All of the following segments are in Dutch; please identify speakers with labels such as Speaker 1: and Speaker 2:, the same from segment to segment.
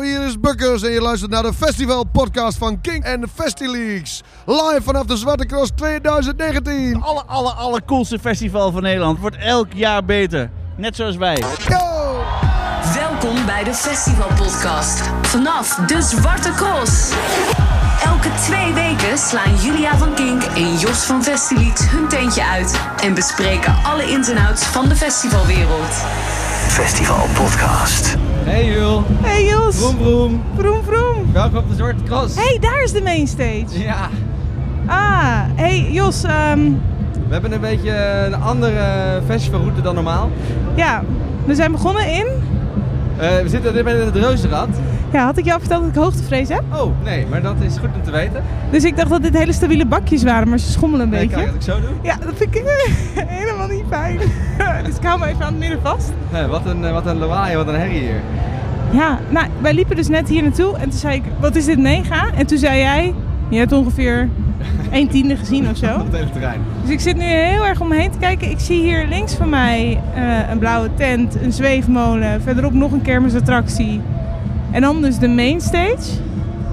Speaker 1: hier is Bukkers en je luistert naar de Festival Podcast van King en de Festileaks. Live vanaf de Zwarte Cross 2019.
Speaker 2: Alle, alle, alle coolste festival van Nederland. Wordt elk jaar beter. Net zoals wij.
Speaker 1: Go!
Speaker 3: Welkom bij de Festival Podcast. Vanaf de Zwarte Cross. Elke twee weken slaan Julia van Kink en Jos van Festilied hun tentje uit en bespreken alle ins en outs van de festivalwereld.
Speaker 4: Festival Podcast.
Speaker 5: Hey Jul,
Speaker 6: Hey Jos!
Speaker 5: broem broem,
Speaker 6: Vroom vroom!
Speaker 5: welkom op de Zwarte Cross.
Speaker 6: Hey, daar is de mainstage!
Speaker 5: Ja,
Speaker 6: Ah, hey Jos, ehm,
Speaker 5: we hebben een beetje een andere festivalroute dan normaal.
Speaker 6: ja, we zijn begonnen in...
Speaker 5: Eh, we zitten op dit moment in het Reuzenrad.
Speaker 6: Ja, had ik jou verteld dat ik hoogtevrees heb?
Speaker 5: Oh, nee, maar dat is goed om te weten.
Speaker 6: Dus ik dacht dat dit hele stabiele bakjes waren, maar ze schommelen een
Speaker 5: Nee,
Speaker 6: beetje.
Speaker 5: kan je dat ik zo doe?
Speaker 6: Ja, dat vind ik eh, helemaal niet fijn. dus ik hou me even aan het midden vast.
Speaker 5: Nee, wat, een, eh, wat een lawaai, wat een herrie hier.
Speaker 6: Ja, nou, wij liepen dus net hier naartoe en toen zei ik, wat is dit nega? En toen zei jij, je hebt ongeveer een tiende gezien of zo.
Speaker 5: Op het hele terrein.
Speaker 6: Dus ik zit nu heel erg om me heen te kijken. Ik zie hier links van mij eh, een blauwe tent, een zweefmolen, verderop nog een kermisattractie. En dan dus de mainstage.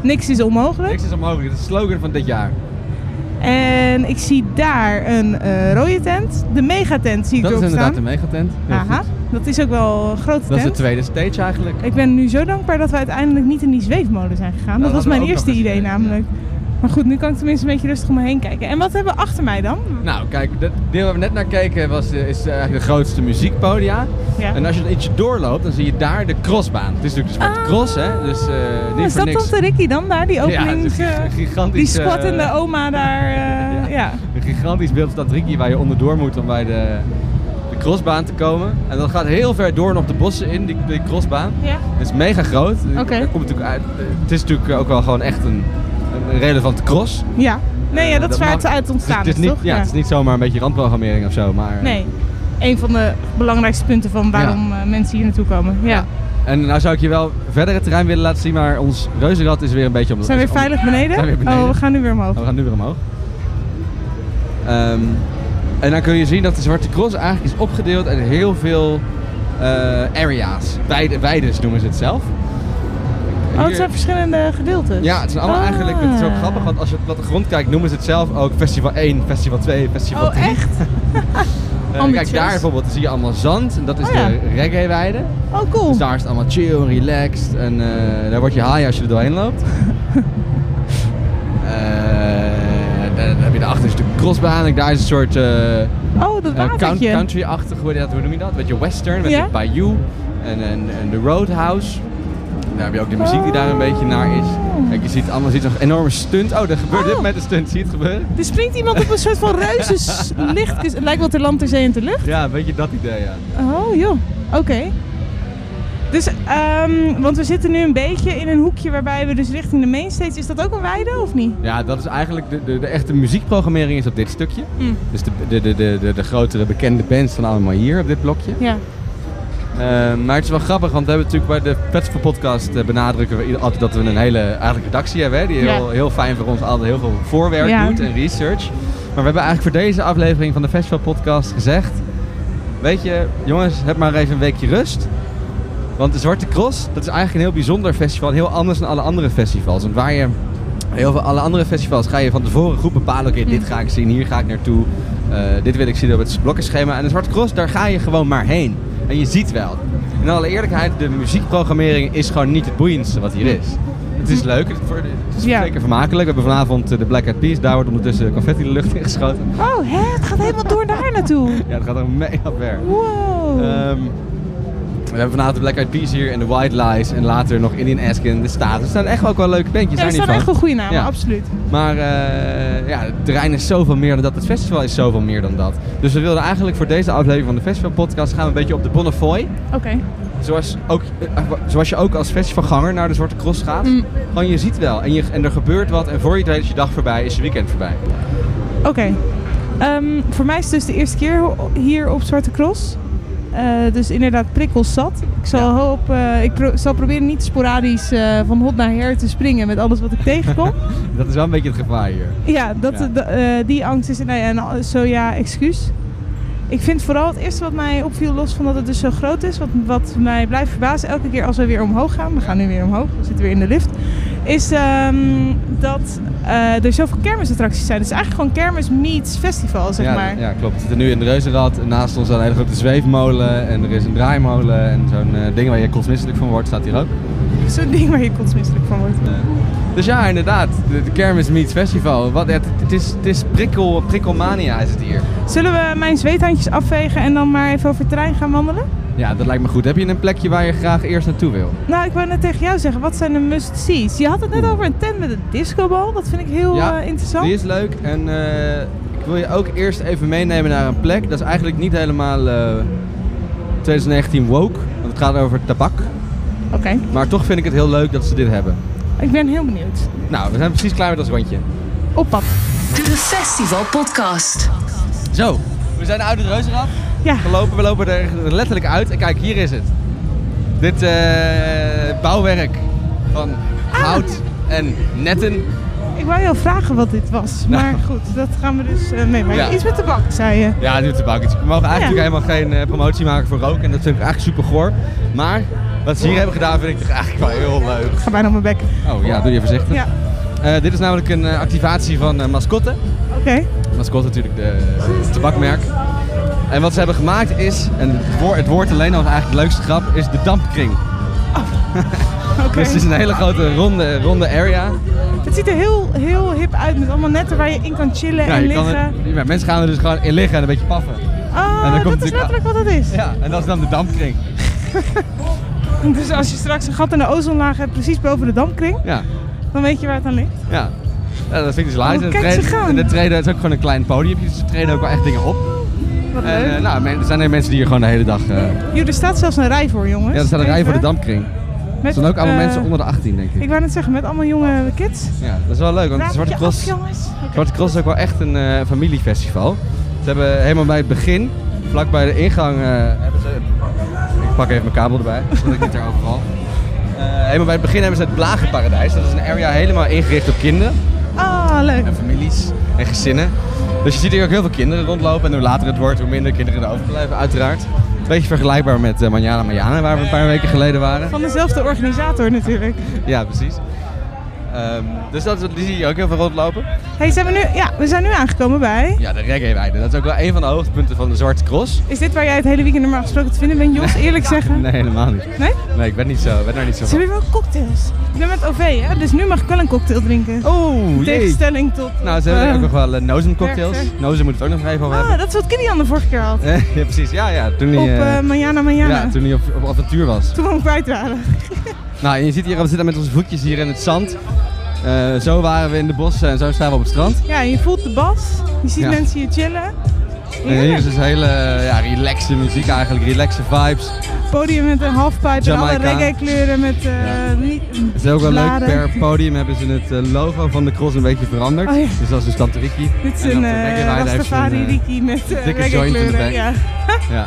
Speaker 6: Niks is onmogelijk.
Speaker 5: Niks is onmogelijk, het is de slogan van dit jaar.
Speaker 6: En ik zie daar een eh, rode tent, de megatent zie ik
Speaker 5: Dat is
Speaker 6: erop
Speaker 5: inderdaad de
Speaker 6: staan.
Speaker 5: megatent. Heel
Speaker 6: Aha,
Speaker 5: goed.
Speaker 6: dat is ook wel een grote
Speaker 5: Dat is de
Speaker 6: tent.
Speaker 5: tweede stage eigenlijk.
Speaker 6: Ik ben nu zo dankbaar dat we uiteindelijk niet in die zweefmolen zijn gegaan.
Speaker 5: Nou,
Speaker 6: dat
Speaker 5: dat hadden
Speaker 6: was
Speaker 5: we
Speaker 6: mijn
Speaker 5: ook
Speaker 6: eerste
Speaker 5: nog eens
Speaker 6: idee
Speaker 5: idee, ja.
Speaker 6: namelijk. Maar goed, nu kan ik tenminste een beetje rustig om me heen kijken. En wat hebben we achter mij dan?
Speaker 5: Nou, kijk, dat deel waar we net naar keken was, eh, is eh, eigenlijk de grootste muziekpodia.
Speaker 6: Ja.
Speaker 5: En als je een ietsje doorloopt, dan zie je daar de crossbaan. Het is natuurlijk de zwarte
Speaker 6: Ah.
Speaker 5: cross, hè? Dus eh, niet
Speaker 6: Oh, is
Speaker 5: voor
Speaker 6: dat
Speaker 5: niks.
Speaker 6: Tante Ricky dan daar, die openings...
Speaker 5: Ja, het is
Speaker 6: eh,
Speaker 5: een gigantisch,
Speaker 6: Die squattende
Speaker 5: eh,
Speaker 6: oma daar. eh, ja.
Speaker 5: Een gigantisch beeld van dat Riki waar je onderdoor moet om bij de, de crossbaan te komen. En dat gaat heel ver door nog de bossen in, die, die crossbaan.
Speaker 6: Ja.
Speaker 5: Het is mega groot.
Speaker 6: Oké.
Speaker 5: Er komt natuurlijk uit, het is natuurlijk ook wel gewoon echt een, een relevante cross.
Speaker 6: Ja. Nee, ja,
Speaker 5: Eh,
Speaker 6: dat, is waar
Speaker 5: mag-
Speaker 6: het uit ontstaan
Speaker 5: het is,
Speaker 6: is,
Speaker 5: niet,
Speaker 6: toch?
Speaker 5: Ja, het is niet zomaar een beetje randprogrammering of zo. Maar,
Speaker 6: Nee. Een van de belangrijkste punten van waarom eh, mensen hier naartoe komen. Ja.
Speaker 5: Ja. En nou zou ik je wel verder het terrein willen laten zien, maar ons reuzenrad is weer een beetje om de
Speaker 6: Zijn we
Speaker 5: is
Speaker 6: weer
Speaker 5: om-
Speaker 6: veilig beneden?
Speaker 5: Zijn we weer beneden.
Speaker 6: Oh, we gaan nu weer omhoog.
Speaker 5: Nou, we gaan nu weer omhoog. Ehm, en dan kun je zien dat de Zwarte Cross eigenlijk is opgedeeld in heel veel eh, area's. Weide- Weides noemen ze het zelf.
Speaker 6: Oh,
Speaker 5: Hier-
Speaker 6: het zijn verschillende gedeeltes.
Speaker 5: ja, het zijn allemaal
Speaker 6: Ah.
Speaker 5: eigenlijk, het is ook grappig, want als je op de grond kijkt noemen ze het zelf ook Festival 1, Festival 2, Festival
Speaker 6: Oh,
Speaker 5: 3.
Speaker 6: echt?
Speaker 5: Eh, kijk,
Speaker 6: ambitieus.
Speaker 5: daar bijvoorbeeld zie je allemaal zand en dat is
Speaker 6: Oh, ja.
Speaker 5: de reggae-weide.
Speaker 6: Oh, cool.
Speaker 5: Dus daar is het allemaal chill en relaxed en eh, daar word je high als je er doorheen loopt. Eh, en dan heb je daarachter is de crossbaan. en Daar is een soort eh, eh,
Speaker 6: Oh, dat
Speaker 5: count-
Speaker 6: watertje.
Speaker 5: country-achtig, hoe, dat- hoe noem je dat? Een beetje western met
Speaker 6: Ja.
Speaker 5: de bayou en, en, en de roadhouse. En daar heb je ook de muziek die daar een beetje naar is.
Speaker 6: Oh.
Speaker 5: Kijk, je ziet allemaal je ziet nog enorme stunt. Oh, er gebeurt dit
Speaker 6: Oh.
Speaker 5: met een stunt. Zie je het gebeuren?
Speaker 6: Er springt iemand op een soort van reuzes lichtjes. Het lijkt wel ter land, ter zee en ter lucht.
Speaker 5: Ja, een beetje dat idee, ja.
Speaker 6: Oh, joh. Oké. Dus, ehm, want we zitten nu een beetje in een hoekje waarbij we dus richting de mainstage... Is dat ook een weide of niet?
Speaker 5: Ja, dat is eigenlijk de, de, de echte muziekprogrammering is op dit stukje.
Speaker 6: Mm.
Speaker 5: Dus de, de, de, de, de, de grotere bekende bands staan allemaal hier op dit blokje.
Speaker 6: Ja.
Speaker 5: Eh, maar het is wel grappig, want we hebben natuurlijk bij de Festival Podcast eh, benadrukken we ieder- altijd dat we een hele eigenlijk redactie hebben. Hè, die heel,
Speaker 6: Ja.
Speaker 5: heel fijn voor ons altijd heel veel voorwerk
Speaker 6: Ja.
Speaker 5: doet en research. Maar we hebben eigenlijk voor deze aflevering van de Festival Podcast gezegd. Weet je, jongens, heb maar even een weekje rust. Want de Zwarte Cross, dat is eigenlijk een heel bijzonder festival. Heel anders dan alle andere festivals. Want waar je heel veel alle andere festivals ga je van tevoren goed bepalen. Oké, dit ga ik zien, hier ga ik naartoe. eh, dit wil ik zien op het blokkenschema. En de Zwarte Cross, daar ga je gewoon maar heen. En je ziet wel. In alle eerlijkheid, de muziekprogrammering is gewoon niet het boeiendste wat hier is. Het is leuk, het voor- het is
Speaker 6: Ja.
Speaker 5: zeker vermakelijk. We hebben vanavond eh, de Black Eyed Peas. Daar wordt ondertussen confetti de lucht in geschoten.
Speaker 6: Oh, hè? Het gaat helemaal door daar naartoe.
Speaker 5: Ja, dat gaat er mega ver.
Speaker 6: Wow.
Speaker 5: Ehm, we hebben vanavond de Black Eyed Peas hier en de White Lies en later nog Indian Askin. Er staan, er staan echt ook wel leuke bandjes.
Speaker 6: ja,
Speaker 5: daar
Speaker 6: er
Speaker 5: niet
Speaker 6: staan
Speaker 5: van.
Speaker 6: echt wel goede namen,
Speaker 5: Ja.
Speaker 6: absoluut.
Speaker 5: Maar eh, ja, het terrein is zoveel meer dan dat. Het festival is zoveel meer dan dat. Dus we wilden eigenlijk voor deze aflevering van de Festival Podcast gaan we een beetje op de Bonnefoy.
Speaker 6: Oké.
Speaker 5: Zoals, ook, eh, zoals je ook als festivalganger naar de Zwarte Cross gaat.
Speaker 6: Mm.
Speaker 5: Gewoon je ziet wel en, je, en er gebeurt wat. En voor je het weet is je dag voorbij, is je weekend voorbij.
Speaker 6: Oké. Ehm, voor mij is het dus de eerste keer ho- hier op Zwarte Cross. Eh, dus inderdaad prikkels zat. Ik zal, hopen, eh, ik pro- zal proberen niet sporadisch eh, van hot naar her te springen met alles wat ik tegenkom.
Speaker 5: Dat is wel een beetje het gevaar hier.
Speaker 6: ja, dat,
Speaker 5: Ja.
Speaker 6: d- eh, die angst is... Nou ja, en al- zo ja, excuus. Ik vind vooral het eerste wat mij opviel, los van dat het dus zo groot is, wat, wat mij blijft verbazen elke keer als we weer omhoog gaan, we gaan nu weer omhoog, we zitten weer in de lift, is ehm, dat eh, er zoveel kermisattracties zijn. Het is eigenlijk gewoon kermis meets festival, zeg
Speaker 5: ja,
Speaker 6: maar.
Speaker 5: ja, klopt. We zitten nu in de Reuzenrad. En naast ons staat een hele grote zweefmolen. En er is een draaimolen. En zo'n eh, ding waar je kotsmisselijk van wordt, staat hier ook.
Speaker 6: Zo'n ding waar je kotsmisselijk van wordt.
Speaker 5: Dus ja, inderdaad. De, de Kermis Meets Festival. Wat, het, het is, het is prikkel, prikkelmania is het hier.
Speaker 6: Zullen we mijn zweethandjes afvegen en dan maar even over het terrein gaan wandelen?
Speaker 5: Ja, dat lijkt me goed. Heb je een plekje waar je graag eerst naartoe wil?
Speaker 6: Nou, ik wou net tegen jou zeggen, wat zijn de must-sees? Je had het net over een tent met een discobal, dat vind ik heel eh, interessant.
Speaker 5: Die is leuk. En eh, ik wil je ook eerst even meenemen naar een plek. Dat is eigenlijk niet helemaal eh, 2019 woke. Want het gaat over tabak.
Speaker 6: Oké,
Speaker 5: Maar toch vind ik het heel leuk dat ze dit hebben.
Speaker 6: ik ben heel benieuwd.
Speaker 5: Nou, we zijn precies klaar met ons rondje.
Speaker 6: Op pad.
Speaker 3: De Festival Podcast.
Speaker 5: Zo, we zijn uit de Reuzenrad
Speaker 6: Ja,
Speaker 5: gelopen. We lopen er letterlijk uit. En kijk, hier is het. Dit eh, bouwwerk van
Speaker 6: Ah.
Speaker 5: hout en netten.
Speaker 6: ik wou jou vragen wat dit was, maar goed, dat gaan we dus eh meemaken.
Speaker 5: Nou. Ja.
Speaker 6: Iets met de bank, zei je.
Speaker 5: Ja, nu te bakken. We mogen eigenlijk
Speaker 6: Ja.
Speaker 5: helemaal geen eh, promotie maken voor rook. En dat vind ik eigenlijk super goor. Maar wat ze hier hebben gedaan vind ik toch eigenlijk wel heel leuk.
Speaker 6: Ik ga bijna op mijn bek.
Speaker 5: Oh ja, doe je voorzichtig.
Speaker 6: Ja,
Speaker 5: Eh, dit is namelijk een eh, activatie van eh, mascotten.
Speaker 6: oké.
Speaker 5: Mascotte natuurlijk de, het tabakmerk. En wat ze hebben gemaakt is, en het woord, het woord alleen al is eigenlijk de leukste grap, is de dampkring.
Speaker 6: Oké.
Speaker 5: Dus het is een hele grote ronde, ronde area.
Speaker 6: Het ziet er heel, heel hip uit met allemaal netten waar je in kan chillen
Speaker 5: Ja,
Speaker 6: en
Speaker 5: je kan
Speaker 6: liggen.
Speaker 5: er- ja, mensen gaan er dus gewoon in liggen en een beetje paffen. En dan
Speaker 6: Oh,
Speaker 5: komt
Speaker 6: dat is
Speaker 5: natuurlijk-
Speaker 6: letterlijk wat het is.
Speaker 5: Ja, en dat is dan de dampkring.
Speaker 6: Dus als je straks een gat in de ozonlaag hebt, precies boven de dampkring,
Speaker 5: Ja,
Speaker 6: dan weet je waar het aan ligt.
Speaker 5: ja. ja dat vind ik dus laat.
Speaker 6: Oh, kijk, ze gaan.
Speaker 5: en de treden het is ook gewoon een klein podiumpje, dus ze treden ook wel echt dingen op.
Speaker 6: Wat
Speaker 5: En
Speaker 6: leuk.
Speaker 5: eh, nou, men- er zijn er mensen die hier gewoon de hele dag... eh,
Speaker 6: Joh, er staat zelfs een rij voor, jongens.
Speaker 5: ja, er staat een rij
Speaker 6: Even.
Speaker 5: voor de dampkring.
Speaker 6: Met,
Speaker 5: Er zijn ook allemaal
Speaker 6: eh,
Speaker 5: mensen onder de 18, denk ik.
Speaker 6: Ik wou net zeggen, met allemaal jonge kids.
Speaker 5: Ja, dat is wel leuk, want de
Speaker 6: Raad
Speaker 5: Zwarte
Speaker 6: je
Speaker 5: Cross...
Speaker 6: af, jongens. Oké.
Speaker 5: Zwarte Cross is ook wel echt een eh, familiefestival. Ze hebben helemaal bij het begin, vlak bij de ingang, eh, hebben ze... Ik pak even mijn kabel erbij, zodat ik niet erover val. Eh, helemaal bij het begin hebben ze het Blagenparadijs. Dat is een area helemaal ingericht op kinderen
Speaker 6: Ah, leuk.
Speaker 5: en families en gezinnen. Dus je ziet hier ook heel veel kinderen rondlopen. En hoe later het wordt, hoe minder kinderen er overblijven, uiteraard. Een beetje vergelijkbaar met eh Manjana Manjana, waar we een paar weken geleden waren.
Speaker 6: Van dezelfde organisator natuurlijk.
Speaker 5: Ja, precies. Ehm, dus dat, die zie je ook heel veel rondlopen.
Speaker 6: Hey, zijn we, nu, ja, we zijn nu aangekomen bij...
Speaker 5: Ja, de reggae-weide. Dat is ook wel een van de hoogtepunten van de Zwarte Cross.
Speaker 6: Is dit waar jij het hele weekend normaal gesproken te vinden bent, Jos? Eerlijk zeggen.
Speaker 5: Nee, helemaal niet.
Speaker 6: Nee?
Speaker 5: Nee, ik ben, niet zo, ik ben daar niet zo
Speaker 6: Ze
Speaker 5: van.
Speaker 6: hebben wel cocktails. Ik ben met OV, hè? dus nu mag ik wel een cocktail drinken.
Speaker 5: Oeh, Oh, jee.
Speaker 6: Tegenstelling tot...
Speaker 5: Nou, ze hebben
Speaker 6: eh,
Speaker 5: ook nog wel eh, Nozem cocktails.
Speaker 6: Werchter.
Speaker 5: Nozem moet het ook nog even over
Speaker 6: Ah,
Speaker 5: hebben.
Speaker 6: dat is wat Kilian de vorige keer had.
Speaker 5: ja, precies. Ja, ja. Toen
Speaker 6: Op
Speaker 5: hij, eh,
Speaker 6: eh Manjana Manjana.
Speaker 5: ja, toen hij op, op avontuur was.
Speaker 6: Toen we hem kwijt waren.
Speaker 5: Nou, en je ziet hier, we zitten met onze voetjes hier in het zand. Eh, zo waren we in de bossen en zo staan we op het strand.
Speaker 6: Ja, je voelt de bas. Je ziet
Speaker 5: Ja.
Speaker 6: mensen hier chillen.
Speaker 5: En hier is
Speaker 6: Heerlijk.
Speaker 5: dus hele eh, ja, relaxe muziek eigenlijk, relaxe vibes.
Speaker 6: Podium met een halfpipe en alle
Speaker 5: Jamaica.
Speaker 6: reggae kleuren met... eh, niet,
Speaker 5: Het is ook wel
Speaker 6: Bladen.
Speaker 5: leuk, per podium hebben ze het eh, logo van de cross een beetje veranderd.
Speaker 6: Oh ja.
Speaker 5: Dus dat is dus Tante Riki.
Speaker 6: Dit is
Speaker 5: En
Speaker 6: een
Speaker 5: op de
Speaker 6: eh,
Speaker 5: reggae-rijder heeft ze een,
Speaker 6: Rastafari
Speaker 5: eh,
Speaker 6: Riki met uh,
Speaker 5: dikke joint in de
Speaker 6: kleuren.
Speaker 5: bek.
Speaker 6: Ja,
Speaker 5: Ja,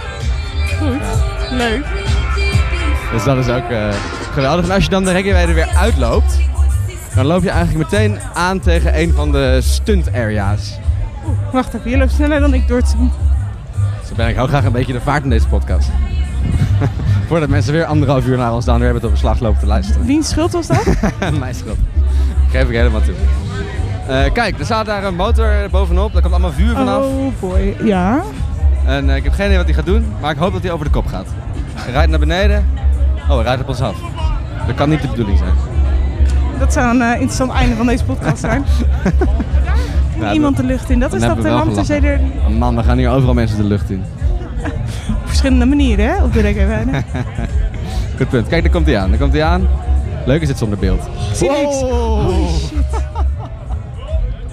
Speaker 6: goed. Leuk.
Speaker 5: dus dat is ook eh, geweldig. En als je dan de reggae weer uitloopt, dan loop je eigenlijk meteen aan tegen een van de stunt area's.
Speaker 6: Wacht even, je loopt sneller dan ik door het zand.
Speaker 5: Dus dan ben ik ook graag een beetje de vaart in deze podcast. Voordat mensen weer anderhalf uur naar ons dan weer hebben het op beslag lopen te luisteren.
Speaker 6: Wiens schuld was dat?
Speaker 5: Mijn schat. Geef ik helemaal toe. Eh, kijk, er staat daar een motor bovenop. Daar komt allemaal vuur vanaf.
Speaker 6: oh boy. Ja.
Speaker 5: En eh, ik heb geen idee wat hij gaat doen, maar ik hoop dat hij over de kop gaat. Hij rijdt naar beneden. Oh, hij rijdt op ons af. Dat kan niet de bedoeling zijn.
Speaker 6: Dat zou een eh, interessant einde van deze podcast zijn.
Speaker 5: Nou,
Speaker 6: Iemand de lucht in. Dat
Speaker 5: dan
Speaker 6: is dat eh,
Speaker 5: hebben
Speaker 6: de
Speaker 5: we wel
Speaker 6: Lamterzeder.
Speaker 5: dat- Oh, Man, we gaan hier overal mensen de lucht in.
Speaker 6: Op verschillende manieren, hè? Oh, Op de reggae
Speaker 5: Goed punt. Kijk, daar komt hij aan. Daar komt hij aan. Leuk is het zonder beeld.
Speaker 6: Zie niks. Holy shit.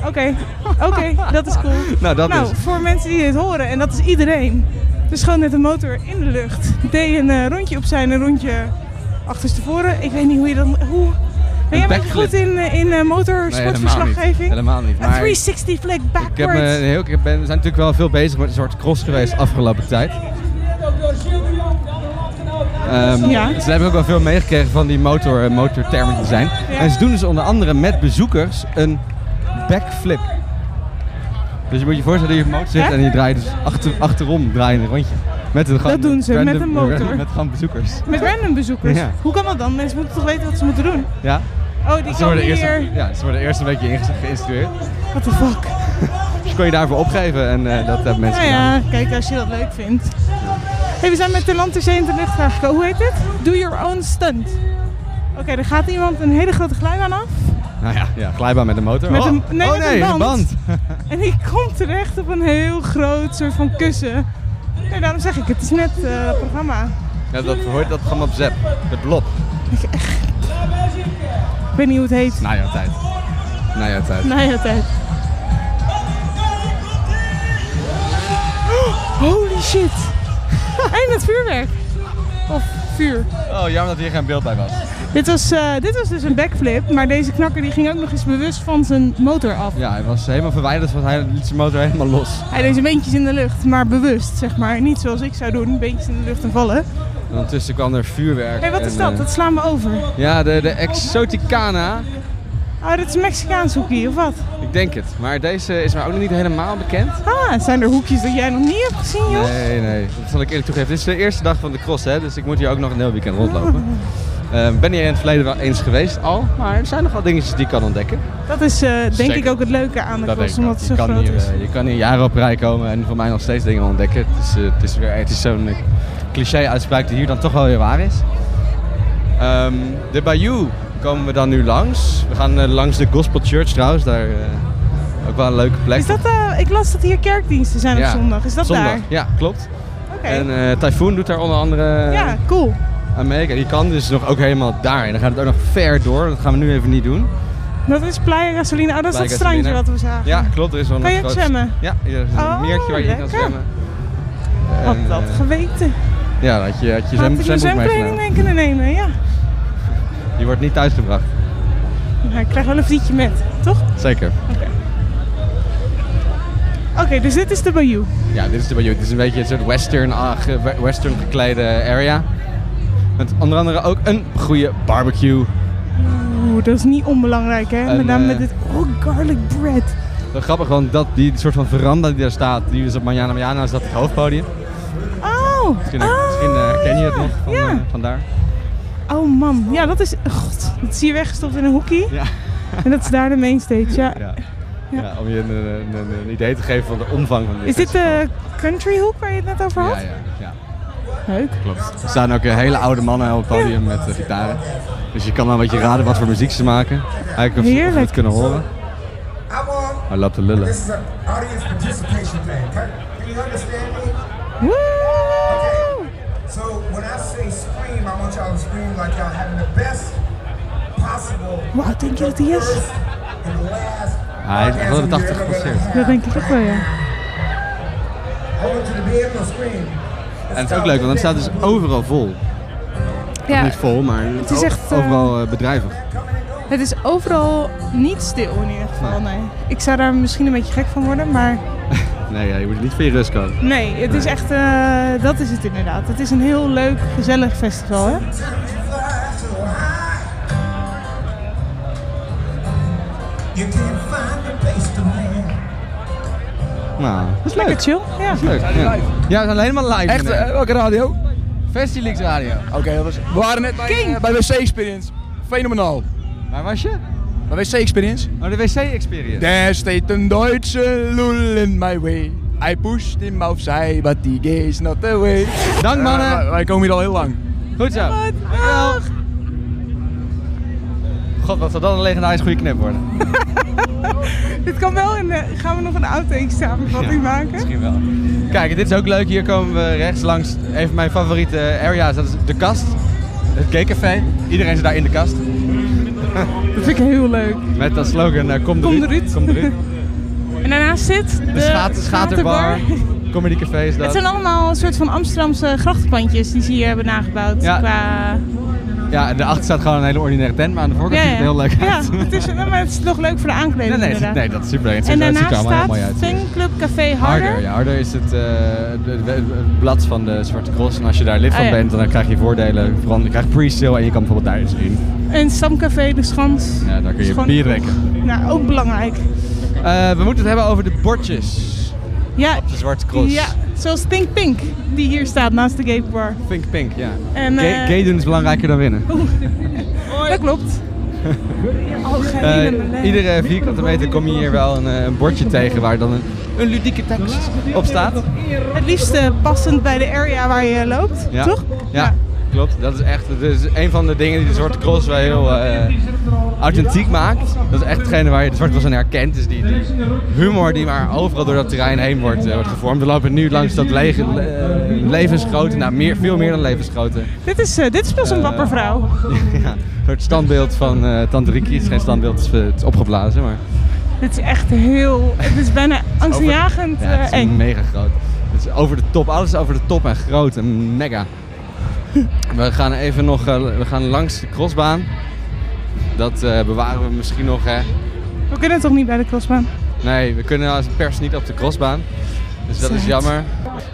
Speaker 6: Oké, oké. dat is cool.
Speaker 5: Nou, dat
Speaker 6: nou,
Speaker 5: is.
Speaker 6: voor mensen die dit horen, en dat is iedereen. Dus gewoon met een motor in de lucht. Deed een eh, rondje op zijn, een rondje achterstevoren. Ik weet niet hoe je dat... Hoe... Ben jij
Speaker 5: Een
Speaker 6: maar
Speaker 5: backflip.
Speaker 6: goed in, eh, in eh, motorsportverslaggeving?
Speaker 5: Helemaal niet.
Speaker 6: Een
Speaker 5: Maar ik
Speaker 6: 360 flick
Speaker 5: heb
Speaker 6: backwards.
Speaker 5: me heel, ik ben, we zijn natuurlijk wel veel bezig met een soort cross geweest afgelopen tijd. Ehm,
Speaker 6: Ja.
Speaker 5: Ze hebben ook wel veel meegekregen van die motor, eh, motortermen die zijn.
Speaker 6: Ja.
Speaker 5: En ze doen dus onder andere met bezoekers een backflip. Dus je moet je voorstellen dat je op een motor zit
Speaker 6: Echt?
Speaker 5: en je draait dus achter, achterom draai je een rondje. Met een, gewoon
Speaker 6: doen ze, met
Speaker 5: random-
Speaker 6: een motor.
Speaker 5: Met gewoon bezoekers.
Speaker 6: Met random bezoekers.
Speaker 5: Ja.
Speaker 6: Hoe kan dat dan? Mensen moeten toch weten wat ze moeten doen?
Speaker 5: Ja?
Speaker 6: Oh, die
Speaker 5: Ze
Speaker 6: komen
Speaker 5: worden, eerst
Speaker 6: hier.
Speaker 5: een, ja, ze worden eerst een beetje inge- geïnstrueerd.
Speaker 6: What the fuck?
Speaker 5: Dus kon je daarvoor opgeven en eh, dat hebben mensen
Speaker 6: Nou
Speaker 5: gedaan.
Speaker 6: ja, kijk als je dat leuk vindt. Hey, we zijn met de Lantercee in de lucht aangekomen. Hoe heet dit? Do your own stunt. Oké, er gaat iemand een hele grote glijbaan af.
Speaker 5: Nou ja, ja glijbaan met een motor.
Speaker 6: Met
Speaker 5: oh,
Speaker 6: een- nee,
Speaker 5: oh
Speaker 6: met een
Speaker 5: nee,
Speaker 6: band. En die komt terecht op een heel groot soort van kussen. Nee, daarom zeg ik, het is net eh, dat programma.
Speaker 5: Ja, dat hoort dat programma op Zep. De blop.
Speaker 6: Ik weet niet hoe het heet.
Speaker 5: Na jouw tijd. Na jouw tijd.
Speaker 6: Nou ja, tijd. Holy shit. en dat vuurwerk. Of vuur.
Speaker 5: Oh, jammer dat hier geen beeld bij was.
Speaker 6: Dit was, eh, dit was dus een backflip, maar deze knakker die ging ook nog eens bewust van zijn motor af.
Speaker 5: Ja, hij was helemaal verwijderd, want hij liet zijn motor helemaal los.
Speaker 6: Hij deed zijn beentjes in de lucht, maar bewust zeg maar. Niet zoals ik zou doen, beentjes in de lucht en vallen.
Speaker 5: En ondertussen kwam er vuurwerk.
Speaker 6: Hé, wat is
Speaker 5: en,
Speaker 6: dat?
Speaker 5: eh,
Speaker 6: Dat slaan we over.
Speaker 5: ja, de, de Exoticana.
Speaker 6: Oh, dat is Mexicaans hoekje, of wat?
Speaker 5: Ik denk het. Maar deze is mij ook nog niet helemaal bekend.
Speaker 6: Ah, zijn er hoekjes dat jij nog niet hebt gezien, joh?
Speaker 5: Nee, nee. Dat zal ik eerlijk toegeven. Dit is de eerste dag van de cross, hè. Dus ik moet hier ook nog een heel weekend rondlopen. Ehm, ben hier in het verleden wel eens geweest al. Maar er zijn nog wel dingetjes die ik kan ontdekken.
Speaker 6: Dat is eh, denk
Speaker 5: Zeker.
Speaker 6: ik ook het leuke aan de
Speaker 5: Dat
Speaker 6: cross,
Speaker 5: denk ik
Speaker 6: omdat
Speaker 5: ook.
Speaker 6: het
Speaker 5: je,
Speaker 6: zo
Speaker 5: kan
Speaker 6: groot
Speaker 5: hier,
Speaker 6: is.
Speaker 5: eh, je kan hier jaren op rij komen en voor mij nog steeds dingen ontdekken. Het is, eh, het is, weer- het is zo'n eh, cliché-uitspraak die hier dan toch wel weer waar is. Ehm, de Bayou komen we dan nu langs. We gaan eh, langs de Gospel Church trouwens. Daar eh, ook wel een leuke plek.
Speaker 6: Is dat, eh, ik las dat hier kerkdiensten zijn op
Speaker 5: Ja,
Speaker 6: zondag. Is dat
Speaker 5: zondag.
Speaker 6: daar?
Speaker 5: Ja, klopt.
Speaker 6: Oké.
Speaker 5: En eh Typhoon doet daar onder andere eh,
Speaker 6: ja, cool.
Speaker 5: aan mee. Kijk, Die kan dus nog ook helemaal daar. En dan gaat het ook nog ver door. Dat gaan we nu even niet doen.
Speaker 6: Dat is Playa Gasolina. Oh, dat is
Speaker 5: Playa
Speaker 6: dat strandje
Speaker 5: Gasolina.
Speaker 6: wat we zagen.
Speaker 5: Ja, klopt. Er is wel
Speaker 6: Kan
Speaker 5: een
Speaker 6: je ook
Speaker 5: groot-
Speaker 6: zwemmen?
Speaker 5: Ja, hier is een
Speaker 6: Oh,
Speaker 5: meertje waar je in kan
Speaker 6: lekker.
Speaker 5: zwemmen. En,
Speaker 6: Had dat
Speaker 5: eh,
Speaker 6: geweten.
Speaker 5: Ja, dat je, had je
Speaker 6: Had ik
Speaker 5: zwem,
Speaker 6: mijn
Speaker 5: zwembroek
Speaker 6: zwemkleding
Speaker 5: meegenomen.
Speaker 6: mee kunnen nemen, ja.
Speaker 5: Je wordt niet thuisgebracht.
Speaker 6: Nou, ik krijg wel een frietje met, toch?
Speaker 5: Zeker.
Speaker 6: Oké, dus dit is de Bayou.
Speaker 5: Ja, dit is de Bayou. Dit is een beetje een soort western, ah, ge- western geklede area. Met onder andere ook een goede barbecue.
Speaker 6: Oeh, dat is niet onbelangrijk, hè?
Speaker 5: En,
Speaker 6: Met name
Speaker 5: eh,
Speaker 6: met dit... Oh, garlic bread.
Speaker 5: Wel grappig, want dat, die soort van veranda die daar staat, die is op Manjana Manjana, is dat het hoofdpodium.
Speaker 6: Oh!
Speaker 5: Misschien,
Speaker 6: ah,
Speaker 5: misschien eh, ken je het nog van,
Speaker 6: ja.
Speaker 5: eh, vandaar.
Speaker 6: Oh man, ja dat is... God, dat zie je weggestopt in een hoekie.
Speaker 5: Ja.
Speaker 6: En dat is daar de mainstage, ja.
Speaker 5: Ja. Ja, om je een, een, een- een idee te geven van de omvang van dit.
Speaker 6: Is dit eh,
Speaker 5: festival.
Speaker 6: de country hoek waar je het net over had?
Speaker 5: Ja, ja, ja.
Speaker 6: Leuk.
Speaker 5: Klopt. Er staan ook eh, hele oude mannen op het podium met eh, gitaren. Dus je kan wel een beetje raden wat voor muziek ze maken. Eigenlijk of, ze- of we
Speaker 6: Heerlijk.
Speaker 5: het kunnen horen.
Speaker 7: I want
Speaker 5: Hij loopt te lullen.
Speaker 7: this is an audience participation thing. Can, can you understand me?
Speaker 6: Woe!
Speaker 7: So when I say scream, I want y'all to scream like y'all having the best possible
Speaker 6: Wauw, denk je dat die is?
Speaker 7: first and last.
Speaker 5: Hij is echt wel de 80 procent.
Speaker 6: Dat denk ik ook wel, ja.
Speaker 7: Over to the bed and scream.
Speaker 5: En het is ook leuk, want het staat dus overal vol.
Speaker 6: Ja,
Speaker 5: Niet vol, maar
Speaker 6: Het is echt, eh,
Speaker 5: overal eh, bedrijvig.
Speaker 6: het is overal niet stil in ieder geval, nee. Ik zou daar misschien een beetje gek van worden, maar
Speaker 5: Nee, ja, je moet niet van je rust komen.
Speaker 6: nee, het is echt... eh, dat is het inderdaad. Het is een heel leuk, gezellig festival, hè?
Speaker 7: You can't find the place to land.
Speaker 5: Nou, dat is
Speaker 6: Lekker chill, ja.
Speaker 5: leuk. Ja. ja, we zijn helemaal live.
Speaker 8: Echt,
Speaker 5: meneer.
Speaker 8: eh, welke radio? Oké,
Speaker 5: Festileaks Radio.
Speaker 8: dat was... We waren net bij,
Speaker 6: King.
Speaker 8: eh, bij WC Experience. Fenomenaal.
Speaker 5: Waar was je?
Speaker 8: Bij WC Experience.
Speaker 5: Oh, de wc-experience.
Speaker 8: Daar steht een Duitse lul in my way. I pushed him outside, but he is not the way.
Speaker 5: Dank mannen.
Speaker 8: Ja, wij-
Speaker 1: eh,
Speaker 8: wij komen hier al heel lang.
Speaker 5: Goed zo. Dankjewel. God, wat zal dat een legendarisch goede knip worden.
Speaker 6: Dit kan wel in de... Gaan we nog een outtake samenvatting maken?
Speaker 5: Misschien wel. Kijk, dit is ook leuk. Hier komen we rechts langs een van mijn favoriete area's. Dat is de kast. Het gaycafé. Iedereen zit daar in de kast.
Speaker 6: Dat vind ik heel leuk.
Speaker 5: Met dat slogan, eh, kom
Speaker 6: Kom
Speaker 5: eruit.
Speaker 6: eruit.
Speaker 5: Kom eruit.
Speaker 6: En daarnaast zit de,
Speaker 5: De schaat, schaterbar. Comedy café is
Speaker 6: Het
Speaker 5: dat.
Speaker 6: zijn allemaal een soort van Amsterdamse grachtenpandjes die ze hier hebben nagebouwd.
Speaker 5: Ja.
Speaker 6: Qua...
Speaker 5: Ja, en daarachter staat gewoon een hele ordinaire tent. Maar aan de voorkant ziet het heel leuk
Speaker 6: Ja,
Speaker 5: uit.
Speaker 6: het is, nou, maar het is nog leuk voor de aankleding
Speaker 5: Nee, nee,
Speaker 6: inderdaad.
Speaker 5: nee, dat is super. Het ziet
Speaker 6: en
Speaker 5: er- het ziet
Speaker 6: daarnaast
Speaker 5: er allemaal heel
Speaker 6: staat
Speaker 5: mooi uit. dus.
Speaker 6: Fanclub Café Harder.
Speaker 5: Harder, ja, harder is het, eh, het- het- het blad van de Zwarte Cross. En als je daar lid
Speaker 6: Ah,
Speaker 5: van
Speaker 6: ja.
Speaker 5: bent, dan krijg je voordelen. Vooral, je krijgt pre-sale en je kan bijvoorbeeld daar eens in.
Speaker 6: En Stamcafé De Schans.
Speaker 5: Ja, daar kun je
Speaker 6: Is gewoon-
Speaker 5: bier drinken.
Speaker 6: Nou, ook belangrijk.
Speaker 5: Eh, we moeten het hebben over de bordjes
Speaker 6: Ja,
Speaker 5: op de Zwarte Cross.
Speaker 6: ja, zoals Think Pink, die hier staat naast de Gate Bar.
Speaker 5: Think pink, ja.
Speaker 6: En,
Speaker 5: gay,
Speaker 6: eh,
Speaker 5: gay doen is belangrijker dan winnen.
Speaker 6: Dat klopt. oh,
Speaker 5: Eh,
Speaker 6: geen idee.
Speaker 5: iedere vierkante meter kom je hier wel een, eh, een bordje tegen waar dan een, een ludieke tekst op staat.
Speaker 6: Het liefst eh, passend bij de area waar je loopt,
Speaker 5: Ja.
Speaker 6: toch?
Speaker 5: Ja, klopt. Dat is echt dat is een van de dingen die de Zwarte Cross wel heel eh, authentiek maakt. Dat is echt hetgene waar je de Zwarte Cross aan herkent. Is die, die humor die maar overal door dat terrein heen wordt, eh, wordt gevormd. We lopen nu langs dat lege, le- eh, levensgrote, nou meer, veel meer dan levensgrote.
Speaker 6: Dit is, eh, dit is pas een
Speaker 5: Eh,
Speaker 6: dapper vrouw.
Speaker 5: ja, een soort standbeeld van eh Tante Riki. Het is geen standbeeld, het is, eh, het is opgeblazen. Maar
Speaker 6: Dit is echt heel... Het is bijna angstaanjagend
Speaker 5: ja, het
Speaker 6: eh,
Speaker 5: is
Speaker 6: eng.
Speaker 5: mega groot. Het is over de top, alles is over de top en groot en mega. we gaan even nog eh, we gaan langs de crossbaan. Dat eh, bewaren we misschien nog. Hè.
Speaker 6: We kunnen toch niet bij de crossbaan?
Speaker 5: Nee, we kunnen als pers niet op de crossbaan. Dus dat is jammer.